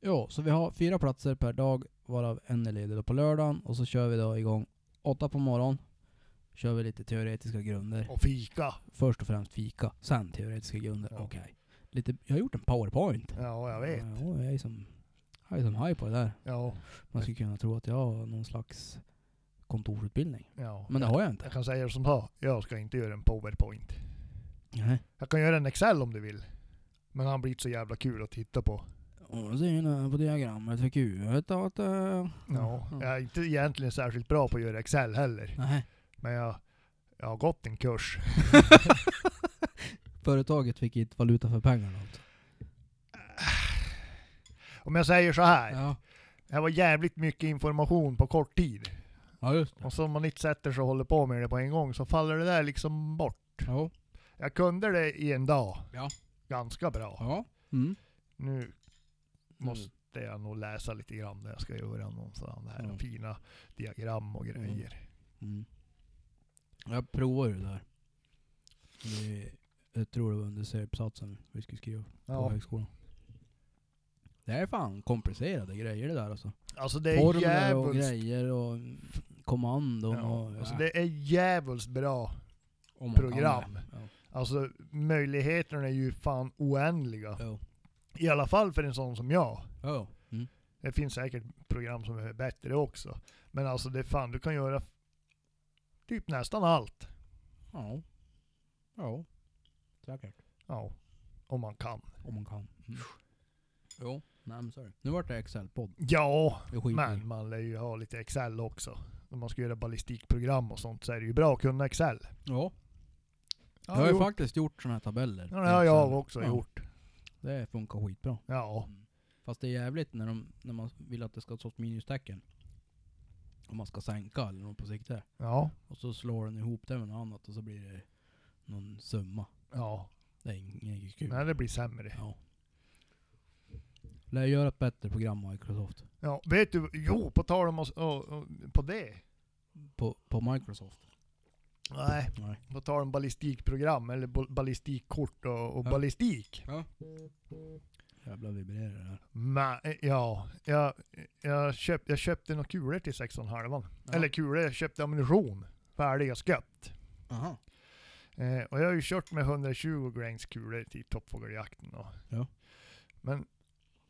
[SPEAKER 1] ja, så vi har fyra platser per dag varav en är ledig då på lördagen och så kör vi då igång åtta på morgonen. Kör vi lite teoretiska grunder.
[SPEAKER 2] och fika.
[SPEAKER 1] Först och främst fika, sen teoretiska grunder.
[SPEAKER 2] Ja.
[SPEAKER 1] Okej. Lite, jag har gjort en powerpoint.
[SPEAKER 2] Ja, jag vet.
[SPEAKER 1] Ja, jag är som, jag är som haj på det där.
[SPEAKER 2] Ja,
[SPEAKER 1] Man skulle kunna tro att jag har någon slags kontorsutbildning.
[SPEAKER 2] ja.
[SPEAKER 1] Men det
[SPEAKER 2] jag,
[SPEAKER 1] har jag inte.
[SPEAKER 2] jag kan säga som så. Jag ska inte göra en powerpoint.
[SPEAKER 1] Nej.
[SPEAKER 2] Jag kan göra en excel om du vill. Men han blir inte så jävla kul att titta på.
[SPEAKER 1] Och så är det på diagrammet för Q1 att... eh,
[SPEAKER 2] Ja,
[SPEAKER 1] Ja.
[SPEAKER 2] jag är inte egentligen särskilt bra på att göra excel heller.
[SPEAKER 1] Nej.
[SPEAKER 2] Men jag, jag har gått en kurs.
[SPEAKER 1] Företaget fick inte valuta för pengarna alltså.
[SPEAKER 2] Om jag säger så här.
[SPEAKER 1] Ja.
[SPEAKER 2] Det var jävligt mycket information på kort tid.
[SPEAKER 1] ja, just det.
[SPEAKER 2] Och så om man inte sätter sig och håller på med det på en gång så faller det där liksom bort.
[SPEAKER 1] Ja.
[SPEAKER 2] Jag kunde det i en dag.
[SPEAKER 1] Ja.
[SPEAKER 2] Ganska bra.
[SPEAKER 1] ja. Mm.
[SPEAKER 2] Nu
[SPEAKER 1] Måste.
[SPEAKER 2] måste jag nog läsa lite grann när jag ska göra någon sån här
[SPEAKER 1] Mm.
[SPEAKER 2] fina diagram och grejer.
[SPEAKER 1] Mm. Jag provar ju det där. Det, jag tror det var under C-uppsatsen vi skulle skriva på
[SPEAKER 2] Ja.
[SPEAKER 1] högskolan. Det är fan komplicerade grejer det där alltså.
[SPEAKER 2] Alltså det är
[SPEAKER 1] Formler och
[SPEAKER 2] djävulskt.
[SPEAKER 1] grejer och mm, kommandon
[SPEAKER 2] Ja.
[SPEAKER 1] och...
[SPEAKER 2] Alltså
[SPEAKER 1] äh,
[SPEAKER 2] det är djävulskt bra.
[SPEAKER 1] om man kan
[SPEAKER 2] program.
[SPEAKER 1] det. Ja.
[SPEAKER 2] Alltså möjligheterna är ju fan oändliga.
[SPEAKER 1] Ja.
[SPEAKER 2] I alla fall för en sån som jag.
[SPEAKER 1] Ja. Mm.
[SPEAKER 2] Det finns säkert program som är bättre också. Men alltså det är fan, du kan göra typ nästan allt.
[SPEAKER 1] ja. Ja. Säkert.
[SPEAKER 2] Ja, om man kan.
[SPEAKER 1] Om man kan. Mm. Jo. Nej men så är det. Nu vart det Excel-podd.
[SPEAKER 2] Ja,
[SPEAKER 1] Det skiter vi i.
[SPEAKER 2] men man lär ju ha lite Excel också. När man ska göra ballistikprogram och sånt så är det ju bra att kunna Excel.
[SPEAKER 1] Ja. jag
[SPEAKER 2] Ja,
[SPEAKER 1] har ju
[SPEAKER 2] jo.
[SPEAKER 1] faktiskt gjort såna här tabeller.
[SPEAKER 2] ja, det har jag också
[SPEAKER 1] Ja.
[SPEAKER 2] gjort.
[SPEAKER 1] Det funkar skitbra.
[SPEAKER 2] Ja,
[SPEAKER 1] Mm. Fast det är jävligt när, de, när man vill att det ska stå minustecken. Om man ska sänka eller något på sikte.
[SPEAKER 2] ja,
[SPEAKER 1] Och så slår den ihop det med något annat och så blir det någon summa.
[SPEAKER 2] ja.
[SPEAKER 1] Det är inget kul.
[SPEAKER 2] Nej, det blir sämre.
[SPEAKER 1] Ja. Lär göra ett bättre program Microsoft.
[SPEAKER 2] Ja, vet du, jo, på tal om oss, och, och, på det.
[SPEAKER 1] På, på Microsoft?
[SPEAKER 2] Nej,
[SPEAKER 1] Nej.
[SPEAKER 2] på tal om ballistikprogram eller bo- ballistikkort och, och
[SPEAKER 1] Ja.
[SPEAKER 2] ballistik.
[SPEAKER 1] Ja. Jävlar vibrerar det här.
[SPEAKER 2] Men, eh, ja, jag, jag, köp, jag köpte några kulor till 6,5.
[SPEAKER 1] Ja.
[SPEAKER 2] Eller kulor, jag köpte ammunition. Färdiga skott.
[SPEAKER 1] Aha.
[SPEAKER 2] Eh, och jag har ju kört med 120 grains kulor till toppfågeljakten. Och,
[SPEAKER 1] Ja.
[SPEAKER 2] Men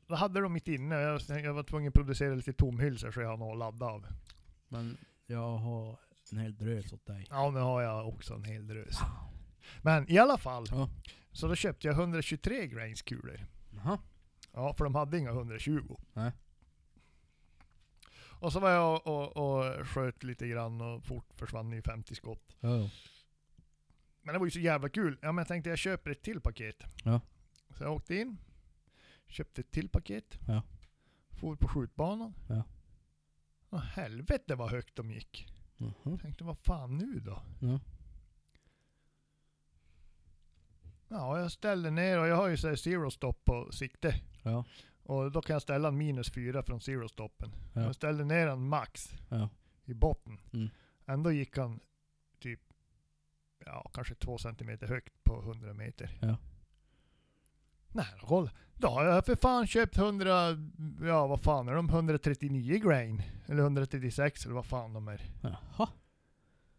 [SPEAKER 2] då hade de mitt inne och jag, jag var tvungen att producera lite tomhylsor så jag har något att ladda av.
[SPEAKER 1] Men jag har en hel drös åt dig.
[SPEAKER 2] Ja, nu har jag också en hel drös. Men i alla fall,
[SPEAKER 1] Ja.
[SPEAKER 2] så då köpte jag 123 grains kulor.
[SPEAKER 1] Aha.
[SPEAKER 2] Ja, för de hade inga 120.
[SPEAKER 1] Nej.
[SPEAKER 2] Och så var jag och, och, och sköt lite grann och fort försvann i 50 skott.
[SPEAKER 1] Ja, ja.
[SPEAKER 2] Men det var ju så jävla kul. Ja, men jag tänkte jag köper ett till paket.
[SPEAKER 1] Ja.
[SPEAKER 2] Så jag åkte in, köpte ett till paket.
[SPEAKER 1] Ja.
[SPEAKER 2] For på skjutbanan.
[SPEAKER 1] Ja.
[SPEAKER 2] Åh, helvete vad högt de gick.
[SPEAKER 1] Jaha.
[SPEAKER 2] Jag tänkte vad fan nu då?
[SPEAKER 1] Ja.
[SPEAKER 2] Ja, jag ställde ner och jag har ju så här zero stop på sikte.
[SPEAKER 1] Ja.
[SPEAKER 2] Och då kan jag ställa en minus fyra från zero stoppen.
[SPEAKER 1] Ja.
[SPEAKER 2] Jag ställde ner en max
[SPEAKER 1] Ja.
[SPEAKER 2] i botten.
[SPEAKER 1] Mm.
[SPEAKER 2] Ändå gick han typ, ja kanske två centimeter högt på 100 meter.
[SPEAKER 1] Ja.
[SPEAKER 2] Nej, då kolla. Då har jag för fan köpt 100, ja vad fan är de, 139 grain? Eller 136 eller vad fan de är.
[SPEAKER 1] Jaha.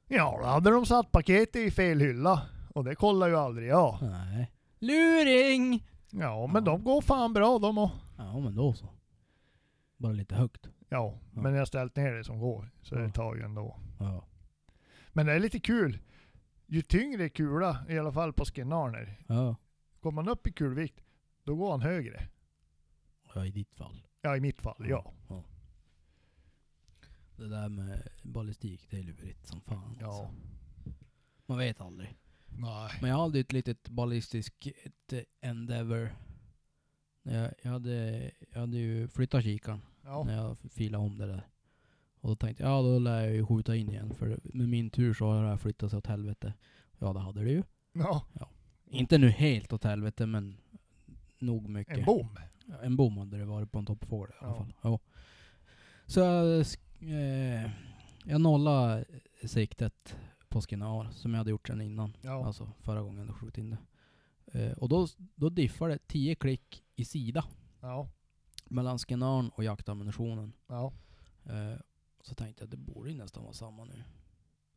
[SPEAKER 2] Ja, då hade de satt paketet i fel hylla. Och det kollar ju aldrig jag.
[SPEAKER 1] Nej. Luring!
[SPEAKER 2] Ja, men
[SPEAKER 1] Ja.
[SPEAKER 2] de går fan bra de och.
[SPEAKER 1] Ja men då så. Bara lite högt.
[SPEAKER 2] Ja,
[SPEAKER 1] Ja.
[SPEAKER 2] men jag har ställt ner det som går. Så
[SPEAKER 1] Ja.
[SPEAKER 2] det tar ju ändå.
[SPEAKER 1] Ja.
[SPEAKER 2] Men det är lite kul. Ju tyngre kula, i alla fall på skenarner,
[SPEAKER 1] Ja.
[SPEAKER 2] går man upp i kulvikt, då går han högre.
[SPEAKER 1] Ja i ditt fall.
[SPEAKER 2] Ja, i mitt fall, ja.
[SPEAKER 1] Det där med ballistik det är lurigt som fan.
[SPEAKER 2] Ja.
[SPEAKER 1] Alltså. Man vet aldrig.
[SPEAKER 2] Nej.
[SPEAKER 1] Men jag hade ett litet ballistiskt ett eh, endeavor. Jag, jag, hade, jag hade ju flyttat kikaren
[SPEAKER 2] Ja.
[SPEAKER 1] när jag filade om det där. Och då tänkte jag, ja då lär jag ju skjuta in igen. För med min tur så har det här flyttat sig åt helvete. Ja det hade det ju.
[SPEAKER 2] ja.
[SPEAKER 1] Inte nu helt åt helvete men nog mycket.
[SPEAKER 2] En bom.
[SPEAKER 1] Ja, En bom hade det varit på en toppfågel i alla
[SPEAKER 2] Ja.
[SPEAKER 1] fall. Ja. Så jag, sk- eh, jag nollade siktet på Skinnar som jag hade gjort sedan innan.
[SPEAKER 2] Ja.
[SPEAKER 1] Alltså förra gången jag sköt in det. Eh, och då, då diffade det 10 klick i sida
[SPEAKER 2] Ja.
[SPEAKER 1] mellan Skinnarn och jaktammunitionen.
[SPEAKER 2] Ja.
[SPEAKER 1] Eh, så tänkte jag att det borde ju nästan vara samma nu.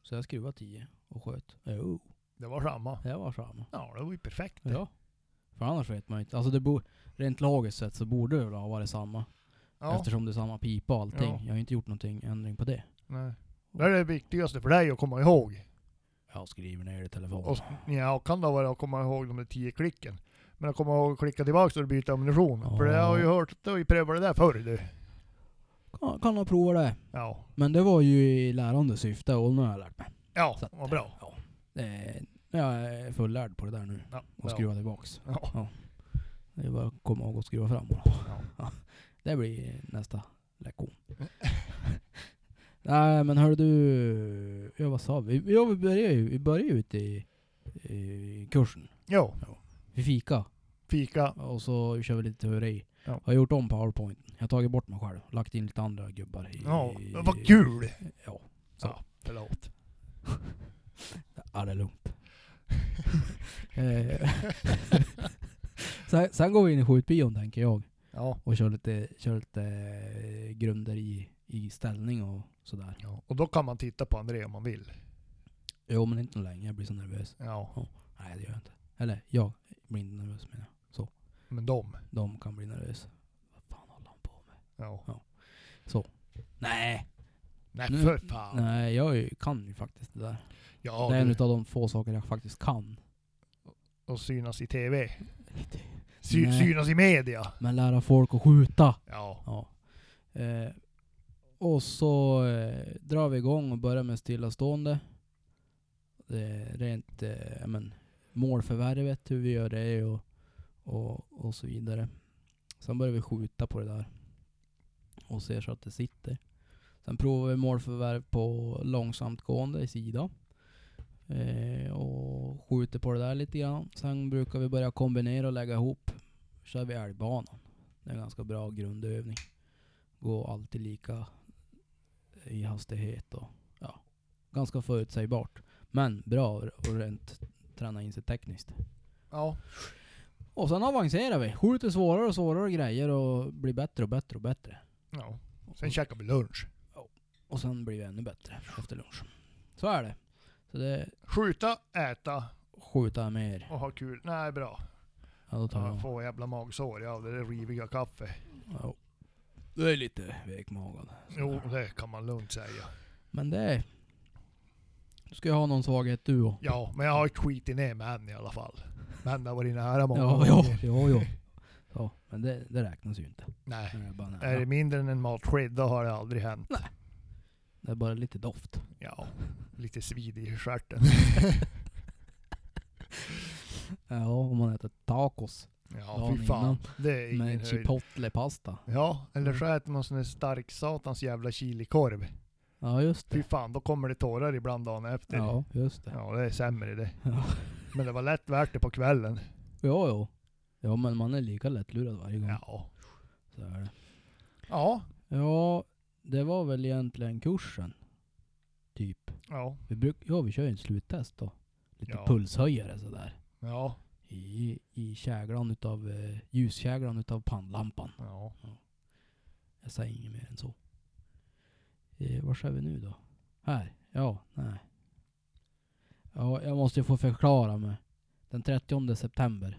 [SPEAKER 1] Så jag skruvade 10 och sköt. Jo,
[SPEAKER 2] Det var samma.
[SPEAKER 1] det var samma.
[SPEAKER 2] Ja, det var ju perfekt.
[SPEAKER 1] Ja. För annars vet man ju inte. Alltså det bo- rent logiskt sett så borde det väl ha varit samma.
[SPEAKER 2] Ja.
[SPEAKER 1] Eftersom det är samma pipa och allting.
[SPEAKER 2] Ja.
[SPEAKER 1] Jag har ju inte gjort någonting ändring på det.
[SPEAKER 2] Nej. Det är det viktigaste för dig att komma ihåg.
[SPEAKER 1] Jag skriver ner det i telefonen.
[SPEAKER 2] Och, ja, kan det vara att komma ihåg de där tio klicken. Men att komma ihåg att klicka tillbaka så du byter ammunition.
[SPEAKER 1] Ja.
[SPEAKER 2] För det har jag ju hört, du har ju prövat det där förr du.
[SPEAKER 1] Kan, kan ha provat det.
[SPEAKER 2] Ja.
[SPEAKER 1] Men det var ju i lärande syfte och nu har jag lärt mig.
[SPEAKER 2] Ja,
[SPEAKER 1] Så att,
[SPEAKER 2] vad bra.
[SPEAKER 1] Ja. Eh, Jag är fullärd på det där nu.
[SPEAKER 2] Ja.
[SPEAKER 1] Och
[SPEAKER 2] bra.
[SPEAKER 1] skruva tillbaks.
[SPEAKER 2] Ja.
[SPEAKER 1] Det är bara att komma ihåg och skruva fram bara.
[SPEAKER 2] Ja.
[SPEAKER 1] Ja. Det blir nästa lektion. [laughs] Nej men hör du, ja vad sa vi? Ja vi började ju, vi började ju ute i, i kursen.
[SPEAKER 2] Jo,
[SPEAKER 1] Vi fika
[SPEAKER 2] fika.
[SPEAKER 1] och så kör vi lite teori.
[SPEAKER 2] Ja.
[SPEAKER 1] Har gjort om powerpointen. Jag har tagit bort mig själv. Lagt in lite andra gubbar i...
[SPEAKER 2] Ja, vad kul!
[SPEAKER 1] Eh, Ja,
[SPEAKER 2] Förlåt.
[SPEAKER 1] ja det är
[SPEAKER 2] [laughs]
[SPEAKER 1] lugnt. Eh, [laughs] sen, sen går vi in i skjutbion tänker jag.
[SPEAKER 2] Ja.
[SPEAKER 1] Och kör lite, kör lite eh, grunder i, i ställning och sådär.
[SPEAKER 2] Ja, och då kan man titta på André om man vill.
[SPEAKER 1] Jo men inte länge, jag blir så nervös.
[SPEAKER 2] Ja,
[SPEAKER 1] Nej det gör jag inte. Eller jag blir inte nervös menar jag.
[SPEAKER 2] men de.
[SPEAKER 1] De kan bli nervösa. Vad fan håller han på med?
[SPEAKER 2] Ja.
[SPEAKER 1] Nej!
[SPEAKER 2] Nej
[SPEAKER 1] Nu-
[SPEAKER 2] för fan.
[SPEAKER 1] Nej jag är ju- kan ju faktiskt det där.
[SPEAKER 2] Ja,
[SPEAKER 1] det är en
[SPEAKER 2] du,
[SPEAKER 1] utav de få saker jag faktiskt kan.
[SPEAKER 2] och synas i tv. Sy,
[SPEAKER 1] Nej.
[SPEAKER 2] synas i media.
[SPEAKER 1] Men lära folk att skjuta.
[SPEAKER 2] Ja.
[SPEAKER 1] Ja. Eh, och så eh, drar vi igång och börjar med stillastående. Det är rent eh, ja, men, målförvärvet, hur vi gör det och, och, och så vidare. Sen börjar vi skjuta på det där och ser så att det sitter. Sen provar vi målförvärv på långsamt gående i sida. Eh, och skjuter på det där lite grann. Sen brukar vi börja kombinera och lägga ihop. kör vi älgbanan. Det är en ganska bra grundövning. Går alltid lika i hastighet och ja, ganska förutsägbart. Men bra och rent träna in sig tekniskt.
[SPEAKER 2] Ja.
[SPEAKER 1] Och sen avancerar vi. Skjuter svårare och svårare grejer och blir bättre och bättre och bättre.
[SPEAKER 2] Ja. Sen käkar vi lunch.
[SPEAKER 1] Och sen blir vi ännu bättre efter lunch. Så är det. Så det är
[SPEAKER 2] Skjuta, äta
[SPEAKER 1] skjuta mer.
[SPEAKER 2] och ha kul. Nej, bra.
[SPEAKER 1] Ja, då tar
[SPEAKER 2] Jag
[SPEAKER 1] jag.
[SPEAKER 2] får jävla magsår jag av det där riviga kaffe.
[SPEAKER 1] Ja. Du är lite vekmagad.
[SPEAKER 2] Jo, det kan man lugnt säga.
[SPEAKER 1] Men det... är- Du ska ju ha någon svaghet du och.
[SPEAKER 2] Ja, men jag har inte skitit ner mig än i alla fall. Men det har varit nära många
[SPEAKER 1] Ja,
[SPEAKER 2] gånger.
[SPEAKER 1] ja, ja, ja. ja men det, det räknas ju inte.
[SPEAKER 2] Nej.
[SPEAKER 1] Det är bara
[SPEAKER 2] Är det
[SPEAKER 1] nära.
[SPEAKER 2] mindre än en matsked, då har det aldrig hänt.
[SPEAKER 1] Det är bara lite doft.
[SPEAKER 2] Ja, lite svid
[SPEAKER 1] [laughs]
[SPEAKER 2] i stjärten.
[SPEAKER 1] Ja, om man äter tacos
[SPEAKER 2] Ja,
[SPEAKER 1] Dagen
[SPEAKER 2] fy fan.
[SPEAKER 1] innan.
[SPEAKER 2] Det är ingen
[SPEAKER 1] med Mm.
[SPEAKER 2] höjd.
[SPEAKER 1] chipotle-pasta.
[SPEAKER 2] Ja, eller så äter man sån där stark satans jävla chilikorv.
[SPEAKER 1] Ja, just
[SPEAKER 2] Fy
[SPEAKER 1] det.
[SPEAKER 2] fan, då kommer det tårar ibland dagen efter.
[SPEAKER 1] Ja, just det.
[SPEAKER 2] Ja, det är sämre det.
[SPEAKER 1] Ja.
[SPEAKER 2] Men det var lätt värt det på kvällen.
[SPEAKER 1] [laughs] Ja, ja. Ja, men man är lika lättlurad varje gång.
[SPEAKER 2] Ja.
[SPEAKER 1] Så är det.
[SPEAKER 2] Ja.
[SPEAKER 1] Ja, det var väl egentligen kursen. Typ.
[SPEAKER 2] Ja.
[SPEAKER 1] Vi bruk, ja, vi kör ju en sluttest då. Lite
[SPEAKER 2] Ja.
[SPEAKER 1] pulshöjare sådär.
[SPEAKER 2] Ja.
[SPEAKER 1] I, i käglan utav, eh, ljuskäglan utav pannlampan.
[SPEAKER 2] Ja.
[SPEAKER 1] Jag säger inget mer än så. Eh, var är vi nu då? Här? Ja, nej. Ja, jag måste ju få förklara mig. Den 30 september.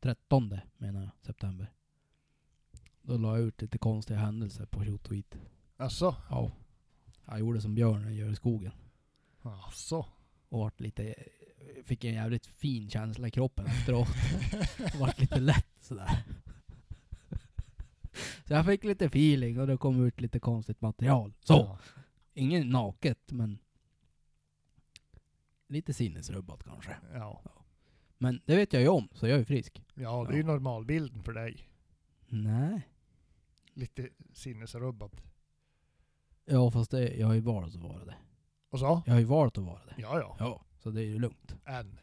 [SPEAKER 1] 13 menar jag, september. Då la jag ut lite konstiga händelser på Tjotvitt.
[SPEAKER 2] Alltså.
[SPEAKER 1] Ja. Jag gjorde som björnen gör i skogen.
[SPEAKER 2] Alltså.
[SPEAKER 1] Och vart lite... Fick en jävligt fin känsla i kroppen
[SPEAKER 2] [laughs]
[SPEAKER 1] efteråt. Och vart lite lätt sådär. Så jag fick lite feeling och det kom ut lite konstigt material. Så!
[SPEAKER 2] Ja.
[SPEAKER 1] Ingen naket, men lite sinnesrubbat kanske.
[SPEAKER 2] Ja.
[SPEAKER 1] Men det vet jag ju om, så jag är frisk.
[SPEAKER 2] Ja, det är ju normalbilden för dig.
[SPEAKER 1] Nej.
[SPEAKER 2] Lite sinnesrubbat.
[SPEAKER 1] Ja, fast det, jag har ju valt att vara det.
[SPEAKER 2] Och så?
[SPEAKER 1] Jag har ju valt att vara det.
[SPEAKER 2] Ja, ja.
[SPEAKER 1] Ja, så det är ju lugnt.
[SPEAKER 2] En.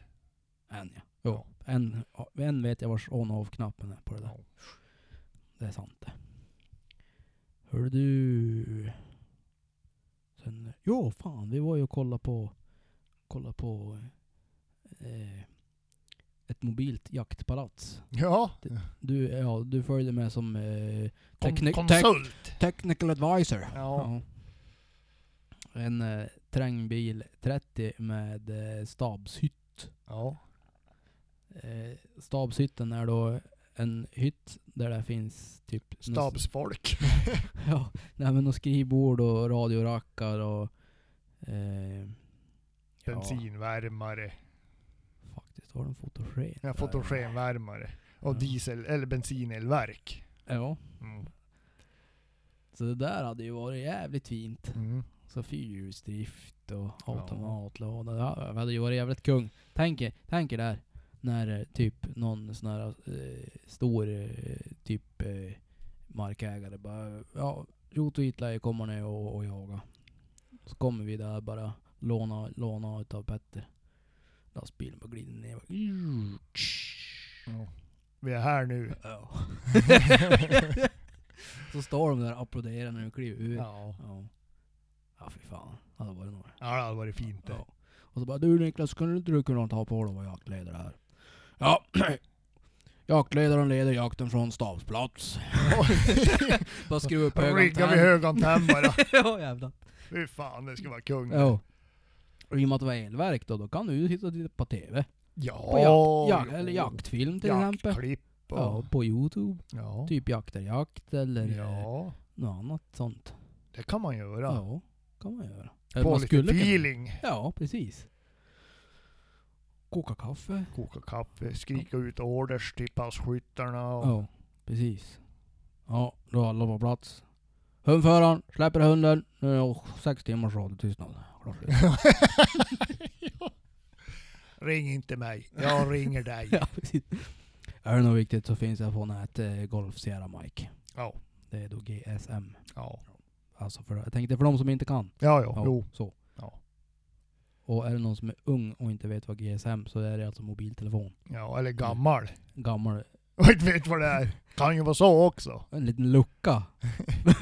[SPEAKER 1] Än ja. Jo, än, än vet jag vars on och off-knappen är på det där.
[SPEAKER 2] Ja.
[SPEAKER 1] Det är sant det. Hör du... Sen, jo, fan, vi var ju och kollade på... Kolla på... Eh, ett mobilt jaktpalats.
[SPEAKER 2] ja.
[SPEAKER 1] Du, ja, du följde med som eh,
[SPEAKER 2] Kon-
[SPEAKER 1] tekni- tec-
[SPEAKER 2] konsult.
[SPEAKER 1] technical advisor.
[SPEAKER 2] Ja.
[SPEAKER 1] En eh, terrängbil 30 med eh, stabshytt.
[SPEAKER 2] Ja.
[SPEAKER 1] Eh, stabshytten är då en hytt där det finns typ... någon-
[SPEAKER 2] Stabsfolk.
[SPEAKER 1] [laughs] Ja, nej men och skrivbord och radiorackar och... Eh,
[SPEAKER 2] Bensinvärmare.
[SPEAKER 1] Ja, faktiskt har de fotogen.
[SPEAKER 2] Ja, fotogenvärmare. Och
[SPEAKER 1] Ja.
[SPEAKER 2] diesel eller bensinelverk.
[SPEAKER 1] Ja.
[SPEAKER 2] Mm.
[SPEAKER 1] Så det där hade ju varit jävligt fint.
[SPEAKER 2] Mm.
[SPEAKER 1] Så fyrhjulsdrift och automatlåda. Ja, det hade ju varit jävligt kung. Tänk er, tänk er där. När eh, typ någon sån här eh, stor eh, typ eh, markägare bara ja, rot och Itlaje kommer nu och, och jaga. Så kommer vi där bara låna, låna utav Petter. Lastbilen bara glider ner.
[SPEAKER 2] Ja. Vi är här nu.
[SPEAKER 1] Ja. Så står de där och applåderar när du kliver ur. Ja.
[SPEAKER 2] Ja.
[SPEAKER 1] Ja, fy fan. Det hade varit några.
[SPEAKER 2] Ja, det hade varit fint det.
[SPEAKER 1] Ja. Och så bara du Niklas, skulle inte du kunna ta på dig att vara jaktledare här? Ja. [clears throat] Jaktledaren leder jakten från
[SPEAKER 2] [laughs]
[SPEAKER 1] stabsplats. Bara skruva upp
[SPEAKER 2] Då
[SPEAKER 1] ögonen.
[SPEAKER 2] riggar vi högantenn bara.
[SPEAKER 1] [laughs] ja jävlar.
[SPEAKER 2] Fy fan, det ska vara kung.
[SPEAKER 1] Ja. Och i och med att det var elverk då, då kan du ju sitta och titta på TV.
[SPEAKER 2] Ja.
[SPEAKER 1] På jakt, ja, eller jaktfilm till exempel.
[SPEAKER 2] Jaktklipp och...
[SPEAKER 1] Ja, på Youtube.
[SPEAKER 2] Ja.
[SPEAKER 1] Typ Jakt är jakt eller eh,
[SPEAKER 2] ja.
[SPEAKER 1] något annat sånt.
[SPEAKER 2] Det kan man
[SPEAKER 1] Ja,
[SPEAKER 2] göra.
[SPEAKER 1] kan man göra. Eller
[SPEAKER 2] Få
[SPEAKER 1] man
[SPEAKER 2] lite
[SPEAKER 1] skulle kunna-
[SPEAKER 2] feeling.
[SPEAKER 1] Ja, precis. Koka kaffe.
[SPEAKER 2] Koka kaffe, skrika ut orders till passkyttarna. Och...
[SPEAKER 1] Ja, precis. Ja, då har alla på plats. Hundföraren släpper hunden. Nu är det sex timmars radiotystnad. Klart
[SPEAKER 2] [laughs]
[SPEAKER 1] slut.
[SPEAKER 2] Ja. Ring inte mig, jag ringer dig.
[SPEAKER 1] [laughs] ja, precis. Är det något viktigt så finns jag på nät eh, Golf Sierra Mike.
[SPEAKER 2] Ja.
[SPEAKER 1] Det är då GSM.
[SPEAKER 2] Ja,
[SPEAKER 1] Alltså för, jag tänkte för de som inte kan.
[SPEAKER 2] ja, ja. jo.
[SPEAKER 1] Så.
[SPEAKER 2] Ja.
[SPEAKER 1] Och är det någon som är ung och inte vet vad GSM så är det alltså mobiltelefon.
[SPEAKER 2] Ja,
[SPEAKER 1] Mm.
[SPEAKER 2] eller gammal. [laughs]
[SPEAKER 1] Gammal.
[SPEAKER 2] Och inte vet vad det är. Kan ju vara så också.
[SPEAKER 1] En liten lucka.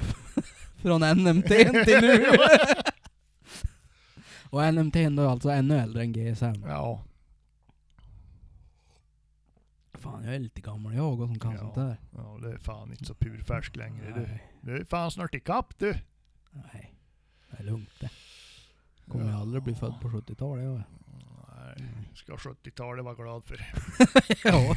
[SPEAKER 2] [laughs]
[SPEAKER 1] Från NMT till nu. [laughs] och NMT då är alltså ännu äldre än GSM.
[SPEAKER 2] Ja.
[SPEAKER 1] Fan, fan jag är lite gammal jag och som kan
[SPEAKER 2] Ja.
[SPEAKER 1] sånt där.
[SPEAKER 2] Ja, det är fan inte så purfärsk längre du.
[SPEAKER 1] Nej,
[SPEAKER 2] Du är fan snart ikapp du.
[SPEAKER 1] nej. Det är lugnt det. Kommer jag aldrig bli född på 70-talet jag.
[SPEAKER 2] Nej, ska 70-talet vara glad för.
[SPEAKER 1] [laughs] ja.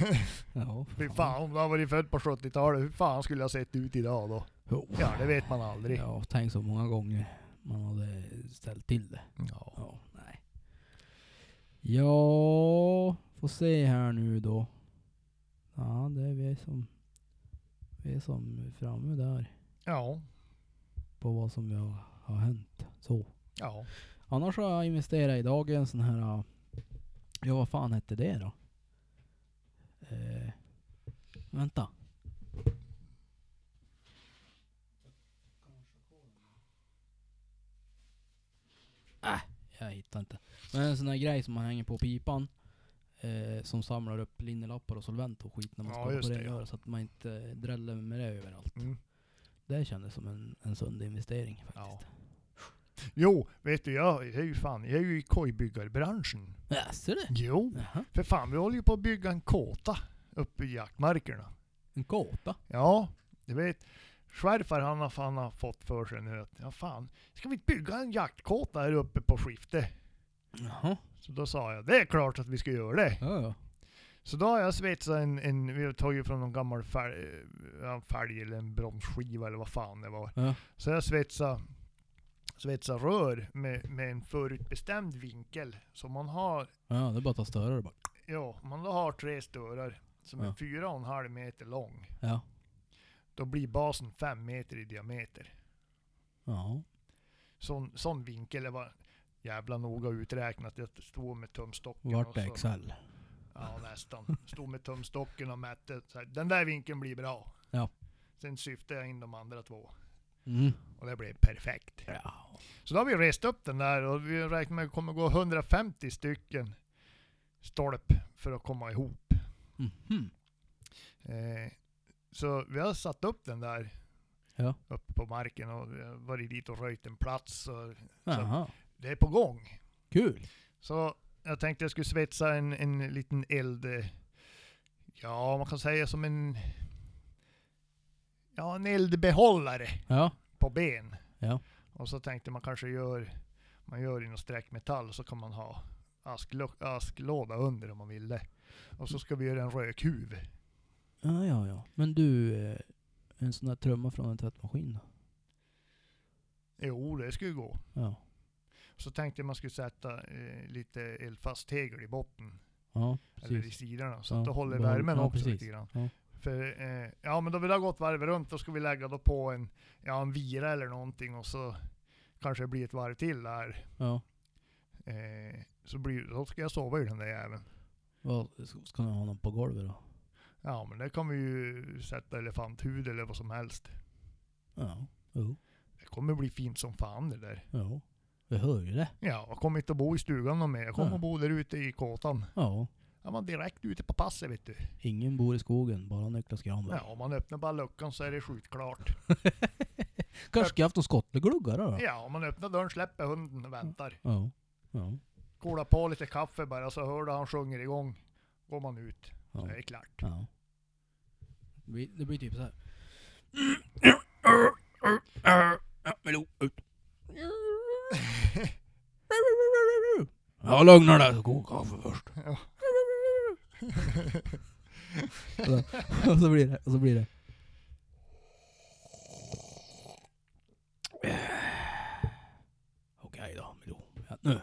[SPEAKER 1] ja.
[SPEAKER 2] [laughs] Fy fan, om du hade varit född på 70-talet, hur fan skulle jag sett ut idag då?
[SPEAKER 1] Jo.
[SPEAKER 2] Ja, det vet man aldrig.
[SPEAKER 1] Ja, tänk så många gånger man hade ställt till det.
[SPEAKER 2] Ja.
[SPEAKER 1] Ja, nej. Ja, får se här nu då. Ja, det är vi som, vi är som framme där
[SPEAKER 2] Ja.
[SPEAKER 1] på vad som har, har hänt. Så.
[SPEAKER 2] Ja.
[SPEAKER 1] Annars har jag investerat idag i en sån här, äh, ja vad fan hette det då? Eh, vänta. Äh, jag hittar inte. Men en sån här grej som man hänger på pipan. Eh, som samlar upp linnelappar och solvent och skit när man
[SPEAKER 2] Ja,
[SPEAKER 1] ska
[SPEAKER 2] just
[SPEAKER 1] på
[SPEAKER 2] det,
[SPEAKER 1] det,
[SPEAKER 2] ja.
[SPEAKER 1] så att man inte eh, dräller med det överallt.
[SPEAKER 2] Mm.
[SPEAKER 1] Det kändes som en, en sund investering
[SPEAKER 2] Ja.
[SPEAKER 1] faktiskt.
[SPEAKER 2] Jo, vet du, jag, jag är ju fan, jag är ju i kojbyggarbranschen.
[SPEAKER 1] Ja. Jaså Äh, du?
[SPEAKER 2] Jo,
[SPEAKER 1] Jaha.
[SPEAKER 2] för fan, vi håller ju på att bygga en kåta uppe i jaktmarkerna.
[SPEAKER 1] En gåta?
[SPEAKER 2] Ja, du vet. Svärfar han har fan har fått för sig nu att, ja fan, ska vi inte bygga en jaktkåta här uppe på skiftet?
[SPEAKER 1] Jaha.
[SPEAKER 2] Så då sa jag, det är klart att vi ska göra det.
[SPEAKER 1] Ja, ja.
[SPEAKER 2] Så då har jag svetsat en, en vi har tagit från någon gammal fälg, ja, fälg eller en bromsskiva eller vad fan det var.
[SPEAKER 1] Ja.
[SPEAKER 2] Så jag svetsat, svetsat rör med, med en förutbestämd vinkel. Så man har,
[SPEAKER 1] Ja, det är bara att ta större bara.
[SPEAKER 2] ja, om man då har tre störar som är
[SPEAKER 1] Ja.
[SPEAKER 2] fyra och en halv meter lång.
[SPEAKER 1] Ja.
[SPEAKER 2] Då blir basen fem meter i diameter.
[SPEAKER 1] Ja.
[SPEAKER 2] Sån, sån vinkel, det var jävla noga uträknat. Jag stod med tumstocken.
[SPEAKER 1] Vart
[SPEAKER 2] och så-
[SPEAKER 1] är XL?
[SPEAKER 2] Ja, nästan. Stod med tumstocken och mätte. Så här, den där vinkeln blir bra.
[SPEAKER 1] Ja.
[SPEAKER 2] Sen syftade jag in de andra två.
[SPEAKER 1] Mm.
[SPEAKER 2] Och det blev perfekt.
[SPEAKER 1] Ja.
[SPEAKER 2] Så då har vi rest upp den där och vi räknar med att det kommer gå 150 stycken stolp för att komma ihop.
[SPEAKER 1] Mhm.
[SPEAKER 2] Eh, så vi har satt upp den där
[SPEAKER 1] Ja.
[SPEAKER 2] uppe på marken och vi har varit dit och röjt en plats. Och
[SPEAKER 1] Jaha.
[SPEAKER 2] det är på gång.
[SPEAKER 1] Kul.
[SPEAKER 2] Så jag tänkte jag skulle svetsa en, en liten eld. eh, Ja, man kan säga som en... Ja, en eldbehållare
[SPEAKER 1] Ja.
[SPEAKER 2] på ben.
[SPEAKER 1] Ja.
[SPEAKER 2] Och så tänkte man kanske gör... Man gör i någon sträckmetall så kan man ha asklo- asklåda under om man vill det. Och så ska vi göra en rökhuv.
[SPEAKER 1] Ja, ja, ja. Men du, eh, en sån där trumma från en tvättmaskin då?
[SPEAKER 2] Jo, det skulle gå.
[SPEAKER 1] Ja.
[SPEAKER 2] Så tänkte jag man skulle sätta eh, lite eldfast tegel i botten.
[SPEAKER 1] Ja,
[SPEAKER 2] Eller i
[SPEAKER 1] precis.
[SPEAKER 2] sidorna. Så
[SPEAKER 1] Ja,
[SPEAKER 2] att det håller
[SPEAKER 1] behåll-
[SPEAKER 2] värmen
[SPEAKER 1] ja,
[SPEAKER 2] också
[SPEAKER 1] precis.
[SPEAKER 2] lite grann.
[SPEAKER 1] Ja.
[SPEAKER 2] För, eh, ja men då vi har gått varv runt, då ska vi lägga då på en, ja, en vira eller någonting och så kanske det blir ett varv till där.
[SPEAKER 1] Ja.
[SPEAKER 2] Eh, så blir, då ska jag sova i den där jäveln.
[SPEAKER 1] Vad, ska- ska ni ha någon på golvet då?
[SPEAKER 2] Ja men där kan vi ju sätta elefanthud eller vad som helst.
[SPEAKER 1] Ja. Jo.
[SPEAKER 2] Det kommer bli fint som fan det där.
[SPEAKER 1] Ja. Vi hör ju det.
[SPEAKER 2] Ja, jag kommer inte att bo i stugan någon mer. Jag kommer
[SPEAKER 1] Ja.
[SPEAKER 2] att bo där ute i kåtan.
[SPEAKER 1] Ja.
[SPEAKER 2] Ja, man direkt ute på passet vet du.
[SPEAKER 1] Ingen bor i skogen, bara Niklas Granberg.
[SPEAKER 2] Ja, om man öppnar bara luckan så är det skjutklart.
[SPEAKER 1] Kanske ska jag haft någon skottglugga då?
[SPEAKER 2] Ja, om man öppnar dörren, släpper hunden och väntar.
[SPEAKER 1] Ja. Ja.
[SPEAKER 2] kola på lite kaffe bara så hör du han sjunger igång. Går man ut så
[SPEAKER 1] ja.
[SPEAKER 2] är det klart. [laughs]
[SPEAKER 1] Ja. Det blir, det blir typ så här. Melo, ut. Ja, lugna dig så kokar kaffe först.
[SPEAKER 2] Ja.
[SPEAKER 1] och så blir det, och så blir det. Okej då, Melo. Ja, nu.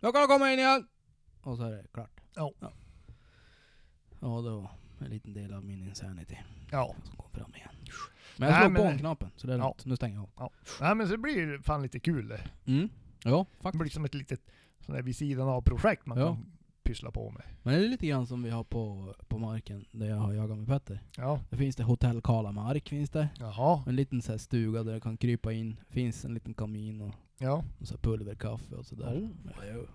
[SPEAKER 1] Nu kan du komma in igen. Och så är det klart.
[SPEAKER 2] Ja.
[SPEAKER 1] Ja, ja det var en liten del av min insanity
[SPEAKER 2] ja.
[SPEAKER 1] som kom fram igen. Men jag
[SPEAKER 2] Nej,
[SPEAKER 1] slog på
[SPEAKER 2] men-
[SPEAKER 1] on-knappen, så det är
[SPEAKER 2] Ja.
[SPEAKER 1] lugnt. Nu stänger jag av.
[SPEAKER 2] Nej men så blir det fan lite kul det.
[SPEAKER 1] Mm. Ja,
[SPEAKER 2] Det
[SPEAKER 1] faktiskt.
[SPEAKER 2] blir som ett litet sån där vid sidan av projekt man
[SPEAKER 1] Ja.
[SPEAKER 2] kan pyssla på med.
[SPEAKER 1] Men det är lite grann som vi har på, på marken där jag har jagat med Petter.
[SPEAKER 2] Ja.
[SPEAKER 1] Där finns det hotell Kalamark, finns det.
[SPEAKER 2] Jaha.
[SPEAKER 1] En liten så här stuga där jag kan krypa in. Finns en liten kamin och,
[SPEAKER 2] Ja.
[SPEAKER 1] och så här pulverkaffe och sådär.
[SPEAKER 2] Oh.
[SPEAKER 1] Ja, jo.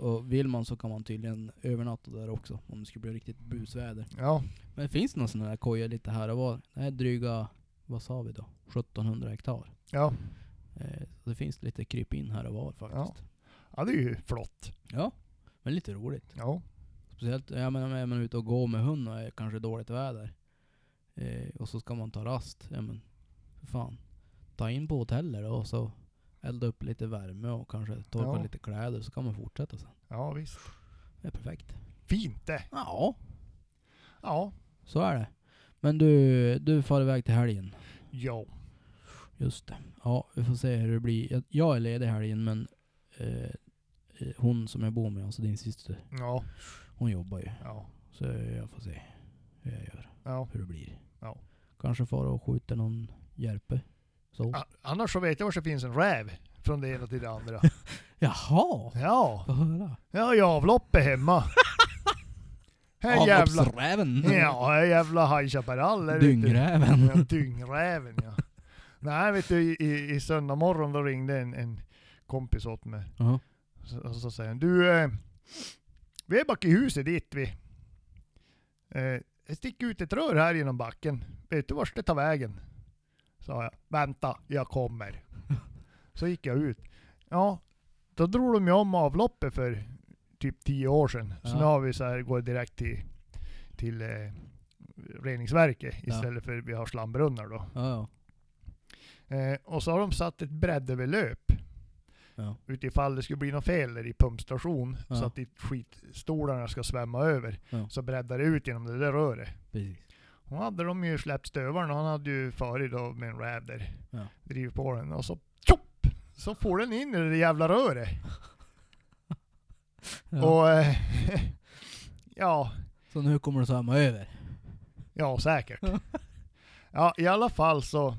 [SPEAKER 1] Och vill man så kan man tydligen övernatta där också om det skulle bli riktigt busväder.
[SPEAKER 2] Ja.
[SPEAKER 1] Men finns det någon sån här koja lite här och var? Det här är dryga, vad sa vi då? 1700 hektar.
[SPEAKER 2] Ja.
[SPEAKER 1] Eh, så det finns lite kryp in här och var faktiskt.
[SPEAKER 2] Ja det är ju flott.
[SPEAKER 1] Ja, men lite roligt.
[SPEAKER 2] Ja.
[SPEAKER 1] Speciellt ja, men, om man är ute och går med hund och är kanske dåligt väder. Eh, och så ska man ta rast. Ja men för fan. Ta in på hotellet då och så elda upp lite värme och kanske torka
[SPEAKER 2] Ja.
[SPEAKER 1] lite kläder så kan man fortsätta sen.
[SPEAKER 2] Ja visst.
[SPEAKER 1] Det är perfekt.
[SPEAKER 2] Fint det.
[SPEAKER 1] Ja,
[SPEAKER 2] Ja.
[SPEAKER 1] så är det. Men du, du far iväg till helgen.
[SPEAKER 2] Ja.
[SPEAKER 1] Just det. Ja, vi får se hur det blir. Jag, jag är ledig i helgen men eh, eh, hon som jag bor med, alltså din syster,
[SPEAKER 2] Ja.
[SPEAKER 1] hon jobbar ju.
[SPEAKER 2] Ja.
[SPEAKER 1] Så jag får se hur jag gör.
[SPEAKER 2] ja.
[SPEAKER 1] hur det blir.
[SPEAKER 2] Ja.
[SPEAKER 1] Kanske fara och skjuta någon järpe. Så.
[SPEAKER 2] A- Annars så vet jag var det finns en räv. Från det ena till
[SPEAKER 1] [laughs]
[SPEAKER 2] det andra.
[SPEAKER 1] Jaha!
[SPEAKER 2] Ja.
[SPEAKER 1] Få höra.
[SPEAKER 2] Ja, jag
[SPEAKER 1] [laughs]
[SPEAKER 2] avloppet hemma. Här jävla...
[SPEAKER 1] Avloppsräven!
[SPEAKER 2] Ja, här jävla High Chaparral. där ute.
[SPEAKER 1] Mm. Dyngräven.
[SPEAKER 2] Ja, dyngräven ja. Nej vet du, i, i, i söndag morgon då ringde en, en kompis åt mig.
[SPEAKER 1] Jaha.
[SPEAKER 2] Så, och så säger han, du, eh, vi är bak i huset dit vi. Eh, det sticker ut ett rör här genom backen. Vet du vart det tar vägen? Sa jag. Vänta, jag kommer. [laughs] Så gick jag ut. Ja, då drog de ju om avloppet för typ tio år sedan. Så
[SPEAKER 1] Ja.
[SPEAKER 2] nu har vi så här, går direkt till, till eh, reningsverket
[SPEAKER 1] Ja.
[SPEAKER 2] istället för vi har slambrunnar då.
[SPEAKER 1] Ja, ja.
[SPEAKER 2] Eh, och så har de satt ett breddöverlöp.
[SPEAKER 1] Ja.
[SPEAKER 2] Utifall det skulle bli något fel där i pumpstation
[SPEAKER 1] Ja.
[SPEAKER 2] så att de skitstolarna ska svämma över.
[SPEAKER 1] Ja.
[SPEAKER 2] Så breddar det ut genom det där röret.
[SPEAKER 1] Precis.
[SPEAKER 2] Hon hade de ju släppt stövaren och han hade ju farit då med en räv där.
[SPEAKER 1] Ja.
[SPEAKER 2] Drivit på den och så tjopp! Så får den in i det där jävla röret.
[SPEAKER 1] [laughs] Ja.
[SPEAKER 2] Och eh, [laughs] ja,
[SPEAKER 1] Så nu kommer det samma över.
[SPEAKER 2] ja
[SPEAKER 1] [laughs]
[SPEAKER 2] säkert. ja i alla fall så,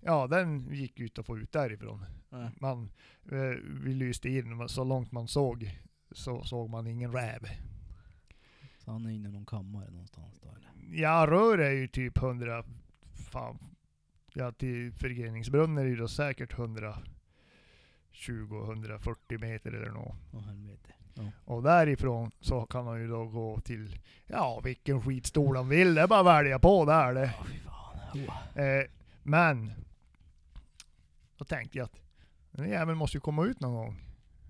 [SPEAKER 2] ja den gick ut att få ut därifrån.
[SPEAKER 1] Ja.
[SPEAKER 2] man, eh, vi lyste in så långt man såg så såg man ingen räv.
[SPEAKER 1] Så han är inne i någon kammare någonstans då eller?
[SPEAKER 2] Ja, rör är ju typ 100, fan, ja till förgreningsbrunnen är det då säkert 120-140 meter eller nå.
[SPEAKER 1] Åh helvete.
[SPEAKER 2] Och därifrån så kan man ju då gå till, ja vilken skitstol han vill, det är bara att välja på där det.
[SPEAKER 1] Ja fy fan. Oh.
[SPEAKER 2] Eh, men, då tänkte jag att den här jäveln måste ju komma ut någon gång.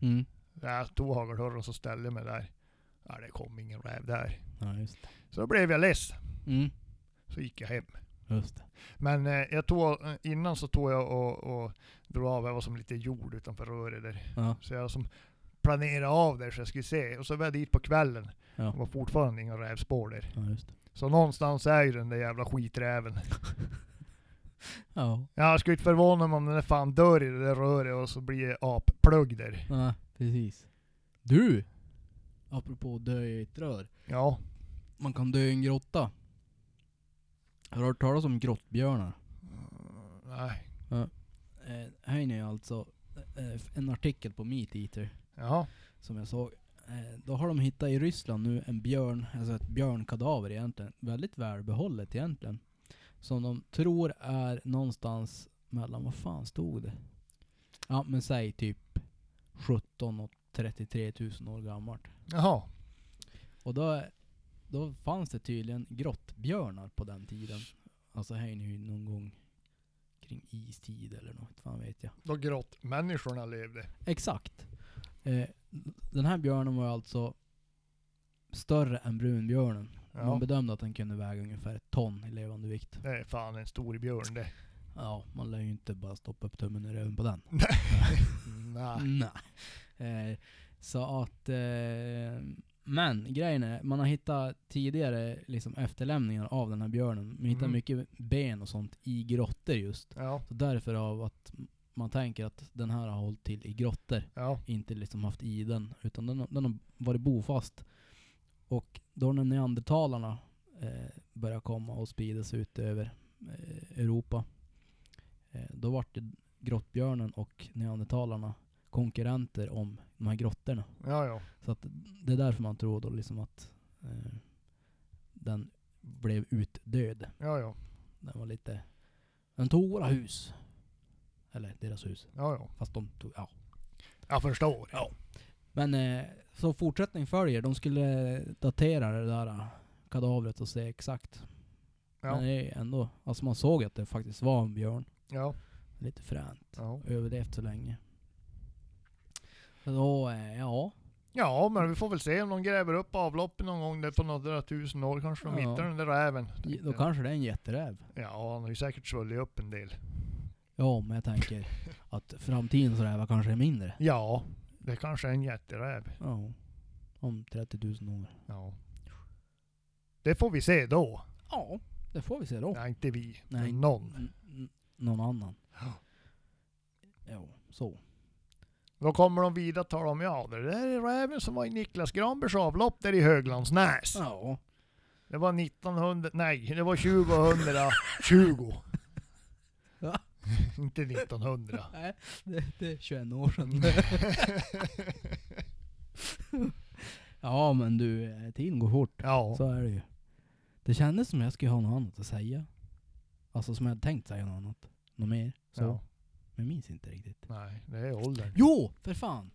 [SPEAKER 1] Mm.
[SPEAKER 2] Jag tog hagelhurren och så ställde jag mig där. Ja, det kom ingen räv där.
[SPEAKER 1] Ja just det.
[SPEAKER 2] Så då blev jag less.
[SPEAKER 1] Mm.
[SPEAKER 2] Så gick jag hem.
[SPEAKER 1] Just det.
[SPEAKER 2] Men eh, jag tog, eh, innan så tog jag och, och drog av, det var som lite jord utanför röret där.
[SPEAKER 1] Ja.
[SPEAKER 2] Så jag som planerade av det så jag skulle se. Och så var jag dit på kvällen.
[SPEAKER 1] Ja.
[SPEAKER 2] Det var fortfarande inga rävspår där.
[SPEAKER 1] Ja just det.
[SPEAKER 2] Så någonstans är ju den där jävla skiträven.
[SPEAKER 1] Ja.
[SPEAKER 2] Jag skulle inte förvåna mig om den där fan dör i det där röret och så blir det applugg där.
[SPEAKER 1] ja. Precis. Du! Apropå att dö i ett rör.
[SPEAKER 2] Ja.
[SPEAKER 1] Man kan dö i en grotta. Har du hört talas om grottbjörnar?
[SPEAKER 2] Mm, Nej.
[SPEAKER 1] Eh, här inne är alltså eh, en artikel på Meateater
[SPEAKER 2] Jaha.
[SPEAKER 1] som jag såg. Eh, då har de hittat i Ryssland nu en björn, alltså ett björnkadaver egentligen. Väldigt välbehållet egentligen. Som de tror är någonstans mellan, vad fan stod det? Ja men säg typ 17 och 33 000 år gammalt.
[SPEAKER 2] Jaha.
[SPEAKER 1] Och då, då fanns det tydligen grottbjörnar på den tiden. Alltså här inne i någon gång kring istid eller något, fan vet jag.
[SPEAKER 2] Då grottmänniskorna levde.
[SPEAKER 1] Exakt. Eh, den här björnen var alltså större än brunbjörnen. Man
[SPEAKER 2] Ja.
[SPEAKER 1] bedömde att den kunde väga ungefär ett ton i levande vikt.
[SPEAKER 2] Det är fan en stor björn det.
[SPEAKER 1] Ja, man lär ju inte bara stoppa upp tummen i röven på den.
[SPEAKER 2] [laughs]
[SPEAKER 1] Mm.
[SPEAKER 2] Nej.
[SPEAKER 1] [laughs] Nej. Eh, så att... Eh, men grejen är, man har hittat tidigare liksom, efterlämningar av den här björnen. Man hittar
[SPEAKER 2] Mm.
[SPEAKER 1] mycket ben och sånt i grottor just.
[SPEAKER 2] Ja,
[SPEAKER 1] Så därför av att man tänker att den här har hållit till i grottor.
[SPEAKER 2] ja,
[SPEAKER 1] Inte liksom haft i den, utan den, har- den har varit bofast. Och då när neandertalarna eh, började komma och spridas ut över eh, Europa, eh, då vart det grottbjörnen och neandertalarna konkurrenter om de här grottorna.
[SPEAKER 2] ja, ja.
[SPEAKER 1] Så att det är därför man tror då liksom att eh, den blev utdöd.
[SPEAKER 2] ja, ja,
[SPEAKER 1] Den var lite... Den tog våra hus. Eller deras hus.
[SPEAKER 2] ja, ja.
[SPEAKER 1] Fast de tog... Ja.
[SPEAKER 2] Jag förstår.
[SPEAKER 1] Ja. Men eh, så fortsättning följer. De skulle datera det där eh, kadavret och se exakt. Men
[SPEAKER 2] Ja,
[SPEAKER 1] det är ändå, alltså man såg att det faktiskt var en björn.
[SPEAKER 2] ja,
[SPEAKER 1] Lite fränt.
[SPEAKER 2] ja.
[SPEAKER 1] Överlevt så länge. Så då, eh, ja.
[SPEAKER 2] Ja, men vi får väl se om de gräver upp avloppet någon gång där på några tusen år kanske de
[SPEAKER 1] Ja.
[SPEAKER 2] hittar den där räven.
[SPEAKER 1] I- Då kanske det är en jätteräv.
[SPEAKER 2] Ja, han har ju säkert svullit upp en del.
[SPEAKER 1] Ja, men jag [laughs] tänker att framtidens rävar kanske är mindre.
[SPEAKER 2] Ja, det kanske är en jätteräv.
[SPEAKER 1] Ja. Om 30 000 år.
[SPEAKER 2] Ja. Det får vi se då.
[SPEAKER 1] Ja, det får vi se då.
[SPEAKER 2] Nej, inte vi.
[SPEAKER 1] Nej.
[SPEAKER 2] Men någon.
[SPEAKER 1] N- n- någon annan.
[SPEAKER 2] Ja.
[SPEAKER 1] Ja, så.
[SPEAKER 2] Då kommer de vidare och tala om ja, det där är räven som var i Niklas Granbergs avlopp där i Höglandsnäs.
[SPEAKER 1] Ja.
[SPEAKER 2] Det var 1900, nej, det var 2020.
[SPEAKER 1] Ja.
[SPEAKER 2] Inte 1900.
[SPEAKER 1] Nej, det, det är 21 år [laughs] sedan. [laughs] ja, men du, eh, tiden går fort.
[SPEAKER 2] ja,
[SPEAKER 1] Så är det ju. Det kändes som jag skulle ha något annat att säga. Alltså som jag hade tänkt säga något annat. Något mer. Så.
[SPEAKER 2] ja.
[SPEAKER 1] Men jag minns inte riktigt.
[SPEAKER 2] Nej, det är åldern.
[SPEAKER 1] Jo, för fan!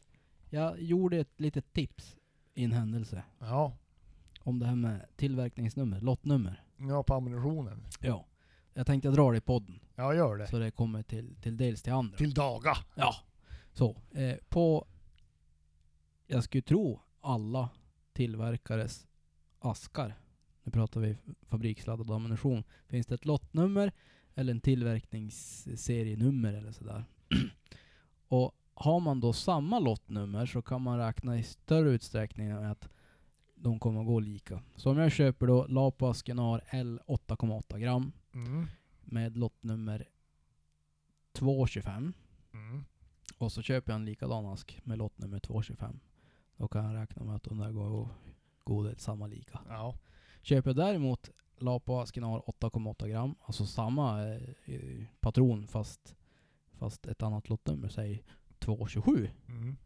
[SPEAKER 1] Jag gjorde ett litet tips i en händelse.
[SPEAKER 2] Ja,
[SPEAKER 1] Om det här med tillverkningsnummer, lottnummer.
[SPEAKER 2] ja på ammunitionen.
[SPEAKER 1] Ja. Jag tänkte jag drar det i podden.
[SPEAKER 2] Ja, gör det.
[SPEAKER 1] Så det kommer till, till dels till andra.
[SPEAKER 2] Till daga.
[SPEAKER 1] Ja. Så. Eh, på, jag skulle tro, alla tillverkares askar. Nu pratar vi fabriksladdad ammunition. Finns det ett lottnummer eller en tillverkningsserienummer eller sådär. [clears throat] Och har man då samma lottnummer så kan man räkna i större utsträckning än att de kommer att gå lika. Så om jag köper då Lapo Askenar L 8,8 gram
[SPEAKER 2] Mm.
[SPEAKER 1] med lottnummer 225
[SPEAKER 2] Mm.
[SPEAKER 1] och så köper jag en likadan ask med lott nummer 225. Då kan jag räkna med att de där går godhet samma lika.
[SPEAKER 2] Ja.
[SPEAKER 1] Köper jag däremot Lapo Askenar 8,8 gram, alltså samma eh, eh, patron fast, fast ett annat lottnummer, säg 227.
[SPEAKER 2] Mm.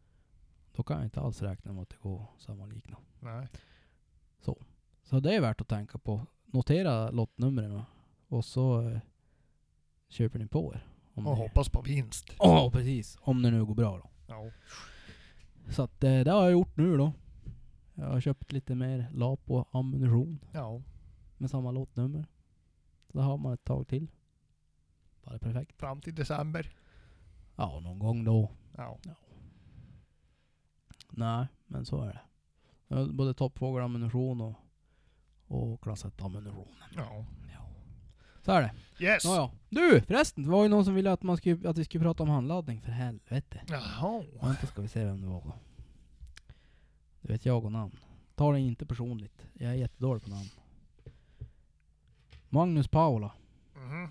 [SPEAKER 1] Då kan jag inte alls räkna med att det går samma likna.
[SPEAKER 2] Nej.
[SPEAKER 1] Så det är värt att tänka på. Notera lottnumren va? och så eh, köper ni på er. Om
[SPEAKER 2] Och
[SPEAKER 1] ni-
[SPEAKER 2] hoppas på vinst.
[SPEAKER 1] Ja, precis. Om det nu går bra då.
[SPEAKER 2] Ja.
[SPEAKER 1] Så att eh, det har jag gjort nu då. Jag har köpt lite mer lap och ammunition
[SPEAKER 2] ja,
[SPEAKER 1] med samma låtnummer. Så det har man ett tag till. Bara perfekt.
[SPEAKER 2] fram till december.
[SPEAKER 1] Ja, någon gång då.
[SPEAKER 2] Ja.
[SPEAKER 1] Nej, men så är det. Jag har Både toppfågelammunition och, och klass 1-ammunition.
[SPEAKER 2] ja.
[SPEAKER 1] Så är det.
[SPEAKER 2] Yes!
[SPEAKER 1] Ja, ja. Du förresten, det var ju någon som ville att, man skulle, att vi skulle prata om handladdning. För helvete.
[SPEAKER 2] Jaha.
[SPEAKER 1] Vänta ska vi se vem det var då. Du vet jag och namn. Ta det inte personligt. Jag är jättedålig på namn. Magnus Paula.
[SPEAKER 2] Mhm.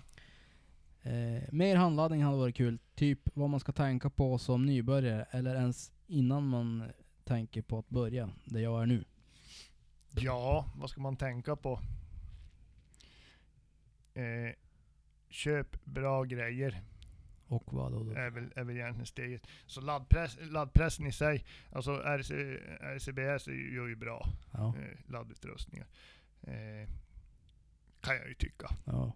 [SPEAKER 1] Eh, mer handladdning hade varit kul. Typ vad man ska tänka på som nybörjare eller ens innan man tänker på att börja där jag är nu.
[SPEAKER 2] Ja, vad ska man tänka på? Eh, köp bra grejer
[SPEAKER 1] Och vad då? då?
[SPEAKER 2] är väl, är väl egentligen steget. Så laddpress, laddpressen i sig, alltså RC, RCBS är ju- gör ju bra
[SPEAKER 1] Ja,
[SPEAKER 2] eh, laddutrustningar. Eh, kan jag ju tycka.
[SPEAKER 1] ja,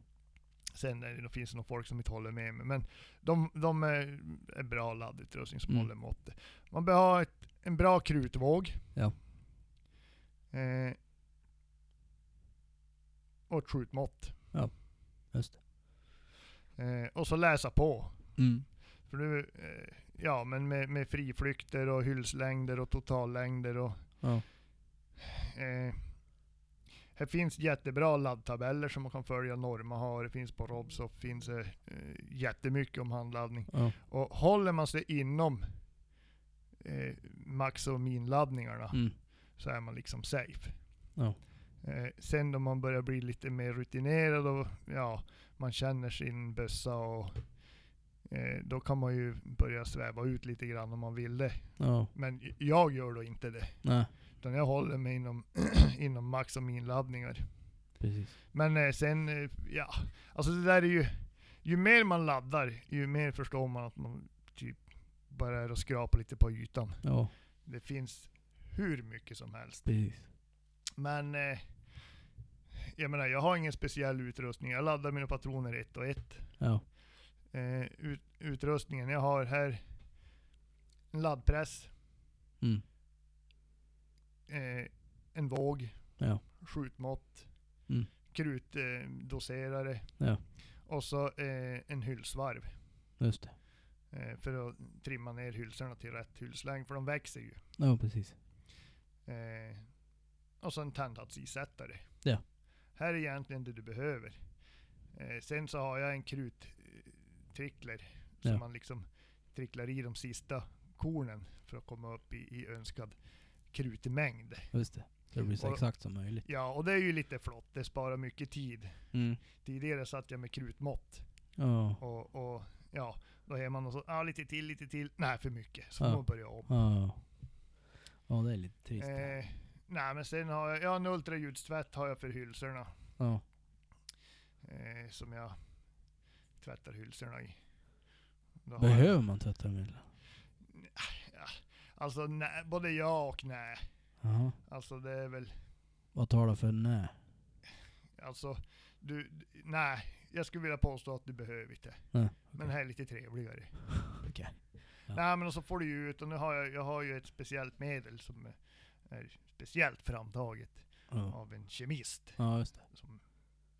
[SPEAKER 2] Sen är det, då finns det nog folk som inte håller med mig, men de, de är, är bra laddutrustning som
[SPEAKER 1] Mm.
[SPEAKER 2] håller måttet. Man behöver ha ett, en bra krutvåg.
[SPEAKER 1] Ja.
[SPEAKER 2] Eh, och ett skjutmått.
[SPEAKER 1] just det.
[SPEAKER 2] Eh, och så läsa på.
[SPEAKER 1] Mm.
[SPEAKER 2] För du, eh, ja, men med, med friflykter och hylslängder och totallängder och
[SPEAKER 1] Ja.
[SPEAKER 2] Eh, här finns jättebra laddtabeller som man kan följa. Norma har, det finns på Robsoft, finns eh, eh, jättemycket om handladdning.
[SPEAKER 1] Ja.
[SPEAKER 2] Och håller man sig inom eh, max och minladdningarna
[SPEAKER 1] Mm.
[SPEAKER 2] så är man liksom safe.
[SPEAKER 1] Ja.
[SPEAKER 2] Eh, sen om man börjar bli lite mer rutinerad och ja, man känner sin bössa och eh, då kan man ju börja sväva ut lite grann om man vill det.
[SPEAKER 1] ja.
[SPEAKER 2] Men jag gör då inte det.
[SPEAKER 1] Nej,
[SPEAKER 2] Utan jag håller mig inom, [clears throat] inom max och minladdningar.
[SPEAKER 1] precis.
[SPEAKER 2] Men eh, sen, eh, ja. Alltså det där är ju, ju mer man laddar, ju mer förstår man att man typ bara är och skrapar lite på ytan.
[SPEAKER 1] Ja,
[SPEAKER 2] Det finns hur mycket som helst.
[SPEAKER 1] precis.
[SPEAKER 2] Men eh, jag menar, jag har ingen speciell utrustning. Jag laddar mina patroner ett och ett.
[SPEAKER 1] Ja.
[SPEAKER 2] Eh, ut, utrustningen jag har här, en laddpress,
[SPEAKER 1] Mm.
[SPEAKER 2] eh, en våg,
[SPEAKER 1] Ja.
[SPEAKER 2] skjutmått,
[SPEAKER 1] Mm.
[SPEAKER 2] krutdoserare eh, doserare.
[SPEAKER 1] Ja.
[SPEAKER 2] och så eh, en hylsvarv.
[SPEAKER 1] Just det.
[SPEAKER 2] Eh, för att trimma ner hylsorna till rätt hylslängd, för de växer ju.
[SPEAKER 1] Ja, precis.
[SPEAKER 2] Eh, och så en tändhalsissättare.
[SPEAKER 1] Ja.
[SPEAKER 2] Här är egentligen det du behöver. Eh, sen så har jag en kruttrickler som
[SPEAKER 1] Ja.
[SPEAKER 2] man liksom tricklar i de sista kornen för att komma upp i, i önskad krutmängd.
[SPEAKER 1] Just det. Så det blir så
[SPEAKER 2] Och-
[SPEAKER 1] exakt som möjligt.
[SPEAKER 2] Ja, och det är ju lite flott. Det sparar mycket tid.
[SPEAKER 1] Mm.
[SPEAKER 2] Tidigare satt jag med krutmått
[SPEAKER 1] Ja.
[SPEAKER 2] och, och ja, då är man och så, ah, lite till, lite till. Nej, för mycket. Så får
[SPEAKER 1] Ja.
[SPEAKER 2] man börja om.
[SPEAKER 1] Ja. Ja, det är lite trist.
[SPEAKER 2] Eh, nej, men sen har jag, ja, en ultraljudstvätt har jag för hylsorna.
[SPEAKER 1] Ja.
[SPEAKER 2] eh, som jag tvättar hylsorna i. Då har jag-
[SPEAKER 1] Behöver man tvättmedel?
[SPEAKER 2] Alltså nej, både ja och nej.
[SPEAKER 1] Jaha.
[SPEAKER 2] Alltså det är väl,
[SPEAKER 1] Vad talar för nej?
[SPEAKER 2] alltså du, d- nej. Jag skulle vilja påstå att du behöver inte.
[SPEAKER 1] Nej,
[SPEAKER 2] Men det här är lite trevligare.
[SPEAKER 1] [laughs] Okej. Ja.
[SPEAKER 2] Nej men och så får du ju ut, och nu har jag, jag har ju ett speciellt medel som är- är speciellt framtaget
[SPEAKER 1] Ja.
[SPEAKER 2] av en kemist
[SPEAKER 1] ja, just det.
[SPEAKER 2] som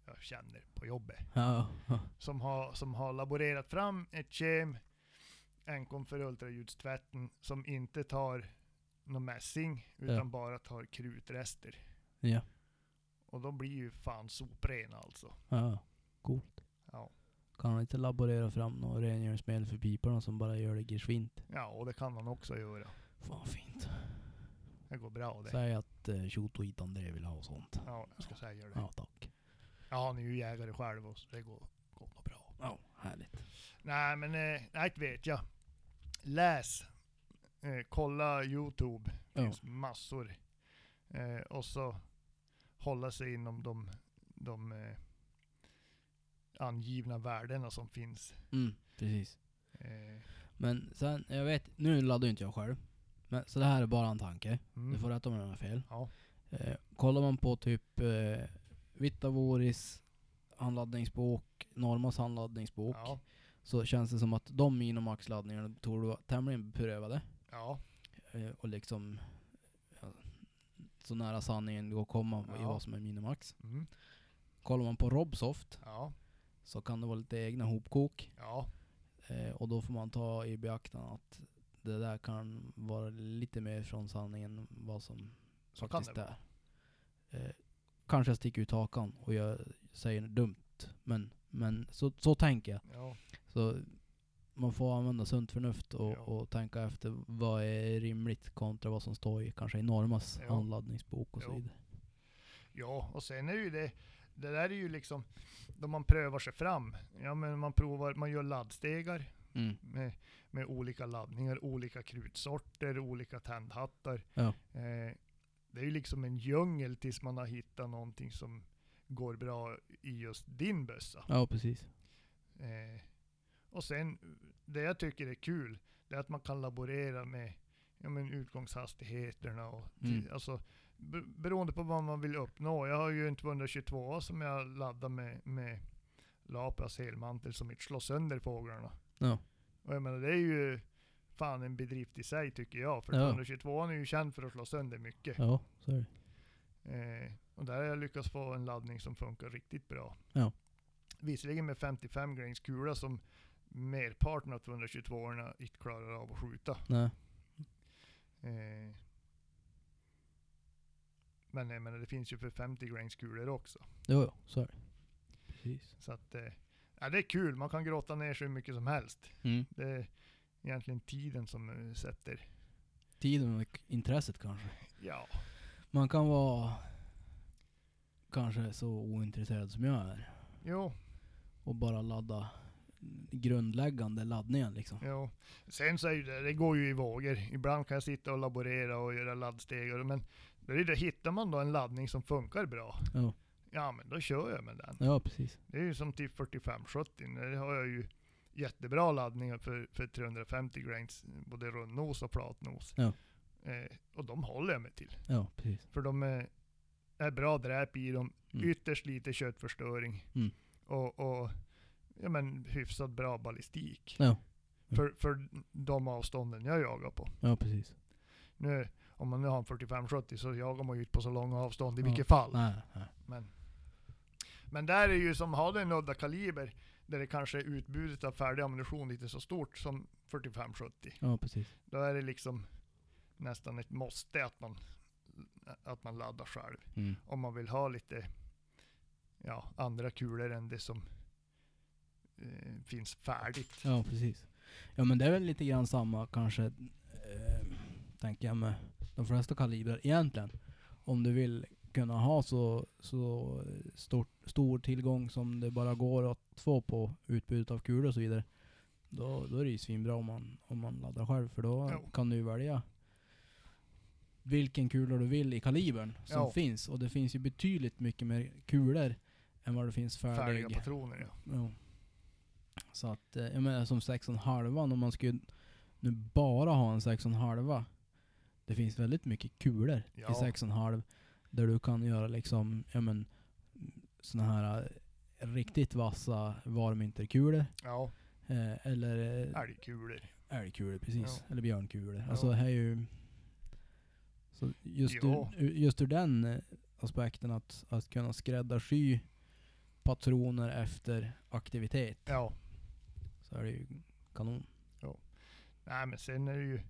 [SPEAKER 2] jag känner på jobbet.
[SPEAKER 1] Ja. [laughs] ja.
[SPEAKER 2] som har, som har laborerat fram ett kem enkom för ultraljudstvätten som inte tar någon mässing utan
[SPEAKER 1] Ja.
[SPEAKER 2] bara tar krutrester.
[SPEAKER 1] Ja.
[SPEAKER 2] Och de blir ju fan soprena alltså.
[SPEAKER 1] ja. Coolt.
[SPEAKER 2] Ja.
[SPEAKER 1] Kan han inte laborera fram några rengöringsmedel för piporna som bara gör det geschwint?
[SPEAKER 2] ja, och det kan man också göra.
[SPEAKER 1] Fan fint.
[SPEAKER 2] Det går bra det.
[SPEAKER 1] Säg att eh, tjot och André vill ha sånt.
[SPEAKER 2] Ja, jag ska säga det.
[SPEAKER 1] Ja, tack.
[SPEAKER 2] Ja, han är ju jägare själv och så det går, går nog bra.
[SPEAKER 1] Ja, härligt.
[SPEAKER 2] Nej, men eh, nej, det vet jag. Läs. Eh, kolla Youtube.
[SPEAKER 1] Ja.
[SPEAKER 2] finns massor. Eh, och så hålla sig inom de, de eh, angivna värdena som finns.
[SPEAKER 1] Mm, precis.
[SPEAKER 2] Eh,
[SPEAKER 1] Men sen, jag vet, nu laddar ju inte jag själv. Men, så det här är bara en tanke.
[SPEAKER 2] mm.
[SPEAKER 1] Du får rätta om jag har fel.
[SPEAKER 2] Ja.
[SPEAKER 1] Eh, kollar man på typ eh, Vittavoris anladdningsbok, Normas anladdningsbok,
[SPEAKER 2] ja,
[SPEAKER 1] så känns det som att de Minomax-laddningarna tror du var tämligen beprövade.
[SPEAKER 2] ja,
[SPEAKER 1] Eh, och liksom ja, så nära sanningen det går att komma i
[SPEAKER 2] Ja.
[SPEAKER 1] vad som är Minomax.
[SPEAKER 2] mm.
[SPEAKER 1] Kollar man på Robsoft
[SPEAKER 2] ja,
[SPEAKER 1] så kan det vara lite egna hopkok.
[SPEAKER 2] ja,
[SPEAKER 1] Eh, och då får man ta i beaktande att det där kan vara lite mer från sanningen än vad som
[SPEAKER 2] Så kan
[SPEAKER 1] faktiskt
[SPEAKER 2] det
[SPEAKER 1] är. Eh, kanske jag sticker ut hakan och jag säger något dumt. Men, men så, så tänker jag.
[SPEAKER 2] ja,
[SPEAKER 1] Så man får använda sunt förnuft och,
[SPEAKER 2] Ja.
[SPEAKER 1] och tänka efter vad är rimligt kontra vad som står i kanske i Normas
[SPEAKER 2] Ja.
[SPEAKER 1] anladdningsbok och så
[SPEAKER 2] Jo.
[SPEAKER 1] vidare.
[SPEAKER 2] ja. Och sen är ju det, det där är ju liksom, då man prövar sig fram. Ja, men man provar, man gör laddstegar
[SPEAKER 1] Mm.
[SPEAKER 2] med, med olika laddningar, olika krutsorter, olika tändhattar.
[SPEAKER 1] Ja.
[SPEAKER 2] Eh, det är ju liksom en djungel tills man har hittat någonting som går bra i just din bössa.
[SPEAKER 1] Ja, precis.
[SPEAKER 2] Eh, och sen, det jag tycker är kul, det är att man kan laborera med ja, men utgångshastigheterna och
[SPEAKER 1] Mm.
[SPEAKER 2] ti- alltså, be- beroende på vad man vill uppnå. Jag har ju en 222 som jag laddar med, med Lapas helmantel som inte slår sönder fåglarna.
[SPEAKER 1] Ja.
[SPEAKER 2] Och jag menar, det är ju fan en bedrift i sig tycker jag. För
[SPEAKER 1] Ja.
[SPEAKER 2] 222 är ju känd för att slå sönder mycket.
[SPEAKER 1] Ja, så är det.
[SPEAKER 2] Eh, och där har jag lyckats få en laddning som funkar riktigt bra.
[SPEAKER 1] Ja.
[SPEAKER 2] Visserligen med 55 grains kula som merparten av 222 orna inte klarar av att skjuta.
[SPEAKER 1] Nej.
[SPEAKER 2] Eh, men jag menar, det finns ju för 50 grains kulor också.
[SPEAKER 1] Jo, jo, så är det. Precis.
[SPEAKER 2] Så att, eh, ja, det är kul, man kan gråta ner sig hur mycket som helst.
[SPEAKER 1] Mm.
[SPEAKER 2] Det är egentligen tiden som eh, sätter.
[SPEAKER 1] Tiden och intresset kanske.
[SPEAKER 2] Ja,
[SPEAKER 1] Man kan vara kanske så ointresserad som jag är
[SPEAKER 2] jo,
[SPEAKER 1] och bara ladda grundläggande laddningar liksom.
[SPEAKER 2] jo. Sen så är ju det, det går ju i vågor. Ibland kan jag sitta och laborera och göra laddstegar. Men då är det, det, hittar man då en laddning som funkar bra,
[SPEAKER 1] Ja,
[SPEAKER 2] ja men då kör jag med den.
[SPEAKER 1] ja precis.
[SPEAKER 2] Det är ju som typ 4570. Där har jag ju jättebra laddningar för, för 350 grains, både rundnos och platnos.
[SPEAKER 1] Ja.
[SPEAKER 2] Eh, och de håller jag mig till.
[SPEAKER 1] Ja, precis.
[SPEAKER 2] För de är, är bra dräp i dem,
[SPEAKER 1] Mm.
[SPEAKER 2] ytterst lite köttförstöring
[SPEAKER 1] Mm.
[SPEAKER 2] och, och ja, men, hyfsat bra ballistik.
[SPEAKER 1] Ja.
[SPEAKER 2] För, för de avstånden jag jagar på.
[SPEAKER 1] Ja, precis.
[SPEAKER 2] Nu, om man nu har en 45-70 så jagar man ju ut på så långa avstånd i
[SPEAKER 1] Ja.
[SPEAKER 2] vilket fall.
[SPEAKER 1] Nej, nej.
[SPEAKER 2] Men, men där är ju som har en udda kaliber, där det kanske är utbudet av färdig ammunition inte så stort som 45-70.
[SPEAKER 1] Ja, precis.
[SPEAKER 2] Då är det liksom nästan ett måste att man att man laddar själv.
[SPEAKER 1] Mm.
[SPEAKER 2] Om man vill ha lite ja, andra kulor än det som eh, finns färdigt.
[SPEAKER 1] Ja, precis. Ja, men det är väl lite grann samma kanske, eh, tänker jag med de flesta kalibrar egentligen. Om du vill kunna ha så, så stor, stor tillgång som det bara går att få på utbudet av kulor och så vidare. Då, då är det ju svinbra om man, om man laddar själv, för då
[SPEAKER 2] Jo.
[SPEAKER 1] kan du välja vilken kulor du vill i kalibern som
[SPEAKER 2] Ja.
[SPEAKER 1] finns. Och det finns ju betydligt mycket mer kulor än vad det finns
[SPEAKER 2] Färdiga
[SPEAKER 1] färdig,
[SPEAKER 2] patroner ja.
[SPEAKER 1] Jo. Så att, eh, jag menar som 6,5 om man skulle nu bara ha en 6,5. Det finns väldigt mycket kulor
[SPEAKER 2] Ja.
[SPEAKER 1] i 6,5 där du kan göra liksom, ja men såna här eh, riktigt vassa varmynterkulor.
[SPEAKER 2] Ja,
[SPEAKER 1] Eh, eller eh,
[SPEAKER 2] älgkulor.
[SPEAKER 1] älgkulor precis. Eller björnkulor.
[SPEAKER 2] Ja.
[SPEAKER 1] Alltså det här är ju... Så just,
[SPEAKER 2] Ja.
[SPEAKER 1] ur, ur- just ur den eh, aspekten att, att kunna skräddarsy patroner efter aktivitet
[SPEAKER 2] Ja,
[SPEAKER 1] så är det ju kanon.
[SPEAKER 2] nej men sen är det ju,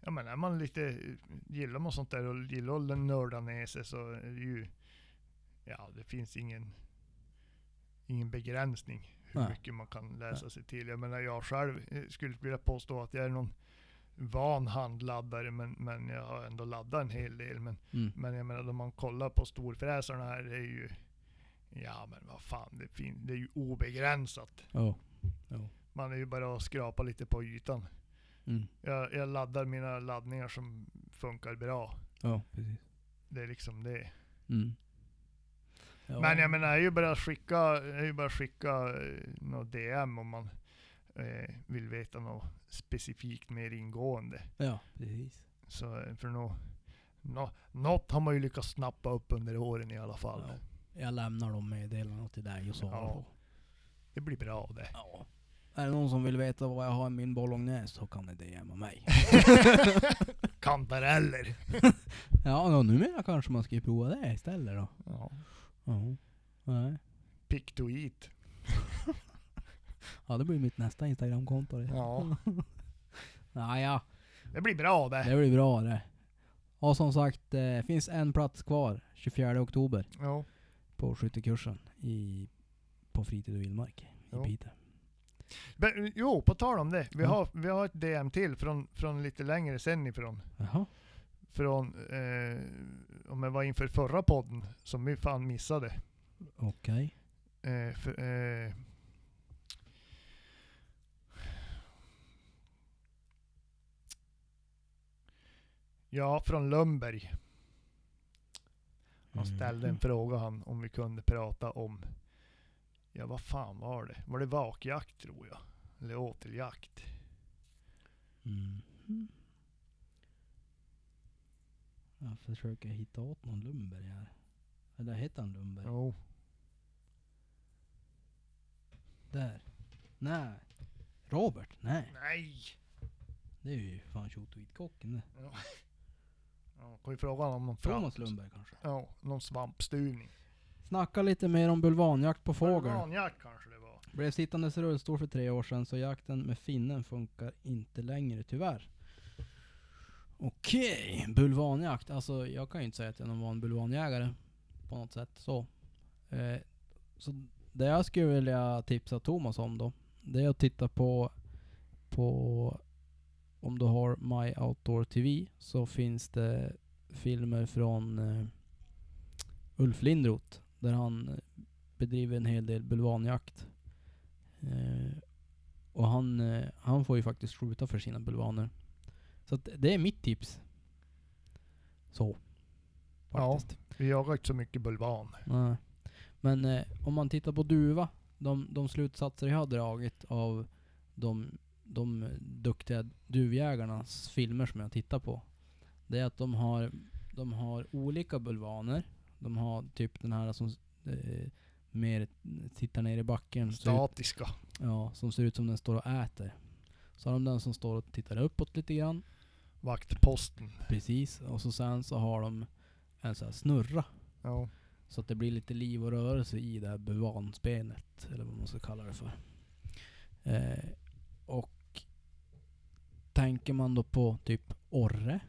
[SPEAKER 2] ja men är man lite, gillar man sånt där och gillar att nörda ner sig så är det ju, ja det finns ingen, ingen begränsning hur
[SPEAKER 1] Nej.
[SPEAKER 2] mycket man kan läsa sig till. Jag menar jag själv eh, skulle inte vilja påstå att jag är någon van handladdare men, men jag har ändå laddat en hel del. Men,
[SPEAKER 1] Mm.
[SPEAKER 2] men jag menar om man kollar på storfräsarna här, det är ju, ja men vad fan, det, fin- det är ju obegränsat.
[SPEAKER 1] Ja.
[SPEAKER 2] Man är ju bara att skrapa lite på ytan.
[SPEAKER 1] Mm.
[SPEAKER 2] Jag, jag laddar mina laddningar som funkar bra.
[SPEAKER 1] Ja, precis.
[SPEAKER 2] Det är liksom det.
[SPEAKER 1] Mm. Ja.
[SPEAKER 2] Men jag menar, jag är ju bara att skicka, jag är ju bara att skicka eh, något DM om man eh, vill veta något specifikt mer ingående.
[SPEAKER 1] Ja, precis.
[SPEAKER 2] Så eh, för nå, nå, något har man ju lyckats snappa upp under åren i alla fall.
[SPEAKER 1] Ja. Jag lämnar de meddelandena till dig och svarar
[SPEAKER 2] Ja.
[SPEAKER 1] på.
[SPEAKER 2] Det blir bra det.
[SPEAKER 1] Ja. Är det någon som vill veta vad jag har i min bolognese så kan ni DMa mig. [laughs]
[SPEAKER 2] [laughs] Kantareller!
[SPEAKER 1] ja, då, numera kanske man ska prova det istället då.
[SPEAKER 2] Ja.
[SPEAKER 1] Ja. Nej.
[SPEAKER 2] Pick to eat.
[SPEAKER 1] Ja, det blir mitt nästa instagramkonto det.
[SPEAKER 2] Ja.
[SPEAKER 1] Naja,
[SPEAKER 2] Det blir bra det.
[SPEAKER 1] det blir bra det. Och som sagt, det finns en plats kvar 24 oktober.
[SPEAKER 2] Ja.
[SPEAKER 1] på skyttekursen i, på fritid och vildmark i
[SPEAKER 2] Ja.
[SPEAKER 1] Piteå.
[SPEAKER 2] Men, jo, på tal om det. Vi,
[SPEAKER 1] Ja.
[SPEAKER 2] har, vi har ett DM till från, från lite längre sen ifrån.
[SPEAKER 1] Jaha.
[SPEAKER 2] från, eh, om jag var inför förra podden, som vi fan missade.
[SPEAKER 1] Okej.
[SPEAKER 2] Eh, för, eh, ja, från Lundberg. Han ställde en fråga han, om vi kunde prata om, ja vad fan var det? Var det vakjakt tror jag? Eller åteljakt?
[SPEAKER 1] Mm. Mm. Jag försöker hitta åt någon Lundberg här. Eller heter han Lundberg?
[SPEAKER 2] Jo.
[SPEAKER 1] Där. Nej. Robert? Nej.
[SPEAKER 2] Nej!
[SPEAKER 1] Det är ju fan tjotvittkocken det.
[SPEAKER 2] Ja, kan vi fråga honom om någon,
[SPEAKER 1] Thomas
[SPEAKER 2] svamp-
[SPEAKER 1] Lundberg kanske?
[SPEAKER 2] ja, någon svampstuvning?
[SPEAKER 1] Snacka lite mer om bulvanjakt på fågel.
[SPEAKER 2] Bulvanjakt kanske det var.
[SPEAKER 1] Blev sittandes i rullstol för tre år sedan så jakten med finnen funkar inte längre tyvärr. Okej, bulvanjakt. Alltså jag kan ju inte säga att jag är någon van bulvanjägare på något sätt så. Eh, så det jag skulle vilja tipsa Thomas om då, det är att titta på, på om du har My Outdoor TV så finns det filmer från eh, Ulf Lindroth där han eh, bedriver en hel del bulvanjakt. Eh, och han, eh, han får ju faktiskt skjuta för sina bulvaner. Så att det är mitt tips. Så.
[SPEAKER 2] Ja.
[SPEAKER 1] Faktiskt.
[SPEAKER 2] Vi jagar inte så mycket bulvan.
[SPEAKER 1] Nej. Men eh, om man tittar på duva, de, de slutsatser jag har dragit av de, de duktiga duvjägarnas filmer som jag tittar på. Det är att de har, de har olika bulvaner. De har typ den här som eh, mer tittar ner i backen. ser ut-
[SPEAKER 2] Statiska.
[SPEAKER 1] Ja, som ser ut som den står och äter. Så har de den som står och tittar uppåt lite grann.
[SPEAKER 2] Vaktposten.
[SPEAKER 1] Precis. Och så sen så har de en sån här snurra.
[SPEAKER 2] Ja.
[SPEAKER 1] Så att det blir lite liv och rörelse i det här buvansbenet. Eller vad man ska kalla det för. Eh, och tänker man då på typ orre.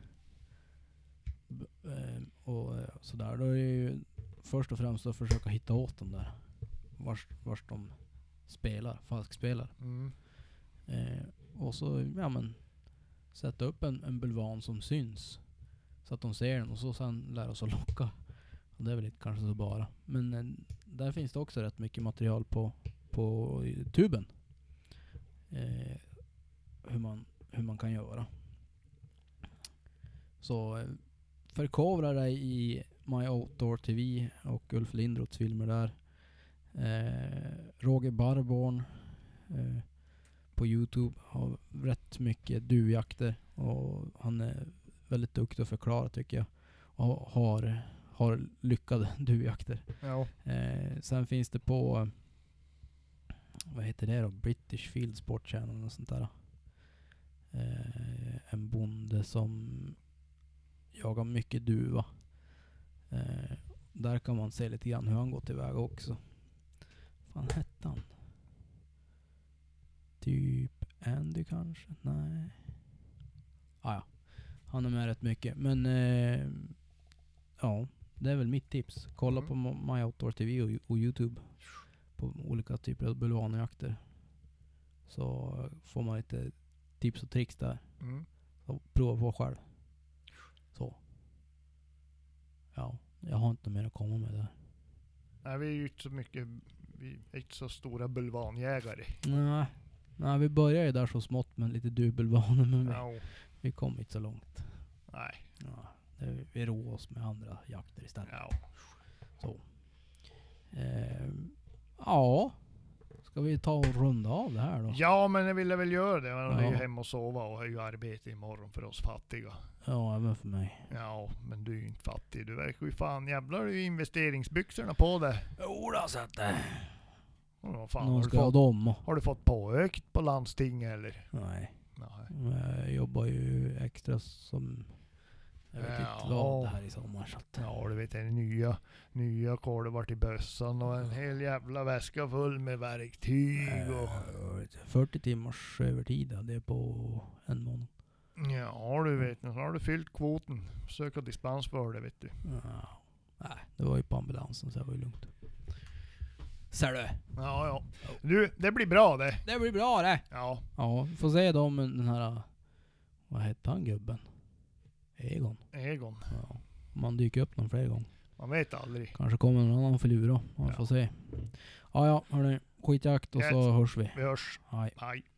[SPEAKER 1] b- Eh, och eh, sådär. Då är det ju först och främst att försöka hitta åt dem där. Vars, vars de spelar, falskspelar.
[SPEAKER 2] Mm.
[SPEAKER 1] Eh, och så, ja men, sätta upp en, en bulvan som syns. Så att de ser den och så sen lära oss att locka. Och det är väl inte kanske så bara. Men eh, där finns det också rätt mycket material på, på tuben. Eh, hur, man, hur man kan göra. Så eh, förkovra dig i My Outdoor TV och Ulf Lindroths filmer där. Eh, Roger Barborn. Eh, på Youtube. Har rätt mycket duvjakter. Och han är väldigt duktig att förklara tycker jag. Och har, har lyckade [laughs] duvjakter.
[SPEAKER 2] Ja.
[SPEAKER 1] Eh, sen finns det på... Vad heter det då? British Field Sport Channel och sånt där. Eh, en bonde som jagar mycket duva. Eh, där kan man se lite grann hur han går tillväga också. fan hette han? Typ Andy kanske? Nej. Ah, ja. Han är med rätt mycket. Men eh, ja, det är väl mitt tips. Kolla
[SPEAKER 2] Mm.
[SPEAKER 1] på Mo- My Outdoor TV och, och Youtube. På olika typer av bulvanjakter. Så får man lite tips och tricks där.
[SPEAKER 2] Mm.
[SPEAKER 1] Så prova på själv. Så. Ja, jag har inte mer att komma med där.
[SPEAKER 2] Nej, vi är ju inte så mycket, vi är inte så stora bulvanjägare.
[SPEAKER 1] Nej, nej vi börjar ju där så smått med lite dubbelbanor men vi,
[SPEAKER 2] Ja.
[SPEAKER 1] vi kom inte så långt.
[SPEAKER 2] Nej.
[SPEAKER 1] Ja, det, vi roar oss med andra jakter istället.
[SPEAKER 2] Ja.
[SPEAKER 1] Ehm, ja, ska vi ta och runda av det här då?
[SPEAKER 2] ja, men jag ville väl göra det. Man är ju
[SPEAKER 1] Ja.
[SPEAKER 2] hemma och sova och har ju arbete imorgon för oss fattiga.
[SPEAKER 1] Ja, även för mig.
[SPEAKER 2] Ja, men du är ju inte fattig. Du verkar ju fan, jävlar du har ju investeringsbyxorna på dig.
[SPEAKER 1] Jodå sätter.
[SPEAKER 2] Och vad fan,
[SPEAKER 1] Någon
[SPEAKER 2] har, du
[SPEAKER 1] ska ha
[SPEAKER 2] fått,
[SPEAKER 1] dem och-
[SPEAKER 2] har du fått påökt på landsting eller?
[SPEAKER 1] Nej,
[SPEAKER 2] Nej.
[SPEAKER 1] jag jobbar ju extra som... Jag vet inte
[SPEAKER 2] Ja.
[SPEAKER 1] vad det här i sommar så att...
[SPEAKER 2] Ja, du vet den nya, nya kolvar till bössan och en hel jävla väska full med verktyg och...
[SPEAKER 1] Eh, 40 timmars övertid hade jag på en månad.
[SPEAKER 2] Ja, du vet, nu har du fyllt kvoten. Söka dispens för det, vet du.
[SPEAKER 1] Ja. Nej, det var ju på ambulansen så det var ju lugnt. Ser du?
[SPEAKER 2] Ja, ja. Du, det blir bra det.
[SPEAKER 1] Det blir bra det!
[SPEAKER 2] Ja.
[SPEAKER 1] Ja, vi får se då om den här... Vad hette han gubben? Egon.
[SPEAKER 2] Egon.
[SPEAKER 1] Ja. Om han dyker upp någon fler gång.
[SPEAKER 2] Man vet aldrig.
[SPEAKER 1] Kanske kommer någon annan filur då. Man
[SPEAKER 2] Ja.
[SPEAKER 1] får se. Ja, ja hörni. Skitjakt och så
[SPEAKER 2] Yes.
[SPEAKER 1] hörs vi.
[SPEAKER 2] Vi hörs.
[SPEAKER 1] Hej.
[SPEAKER 2] Hej.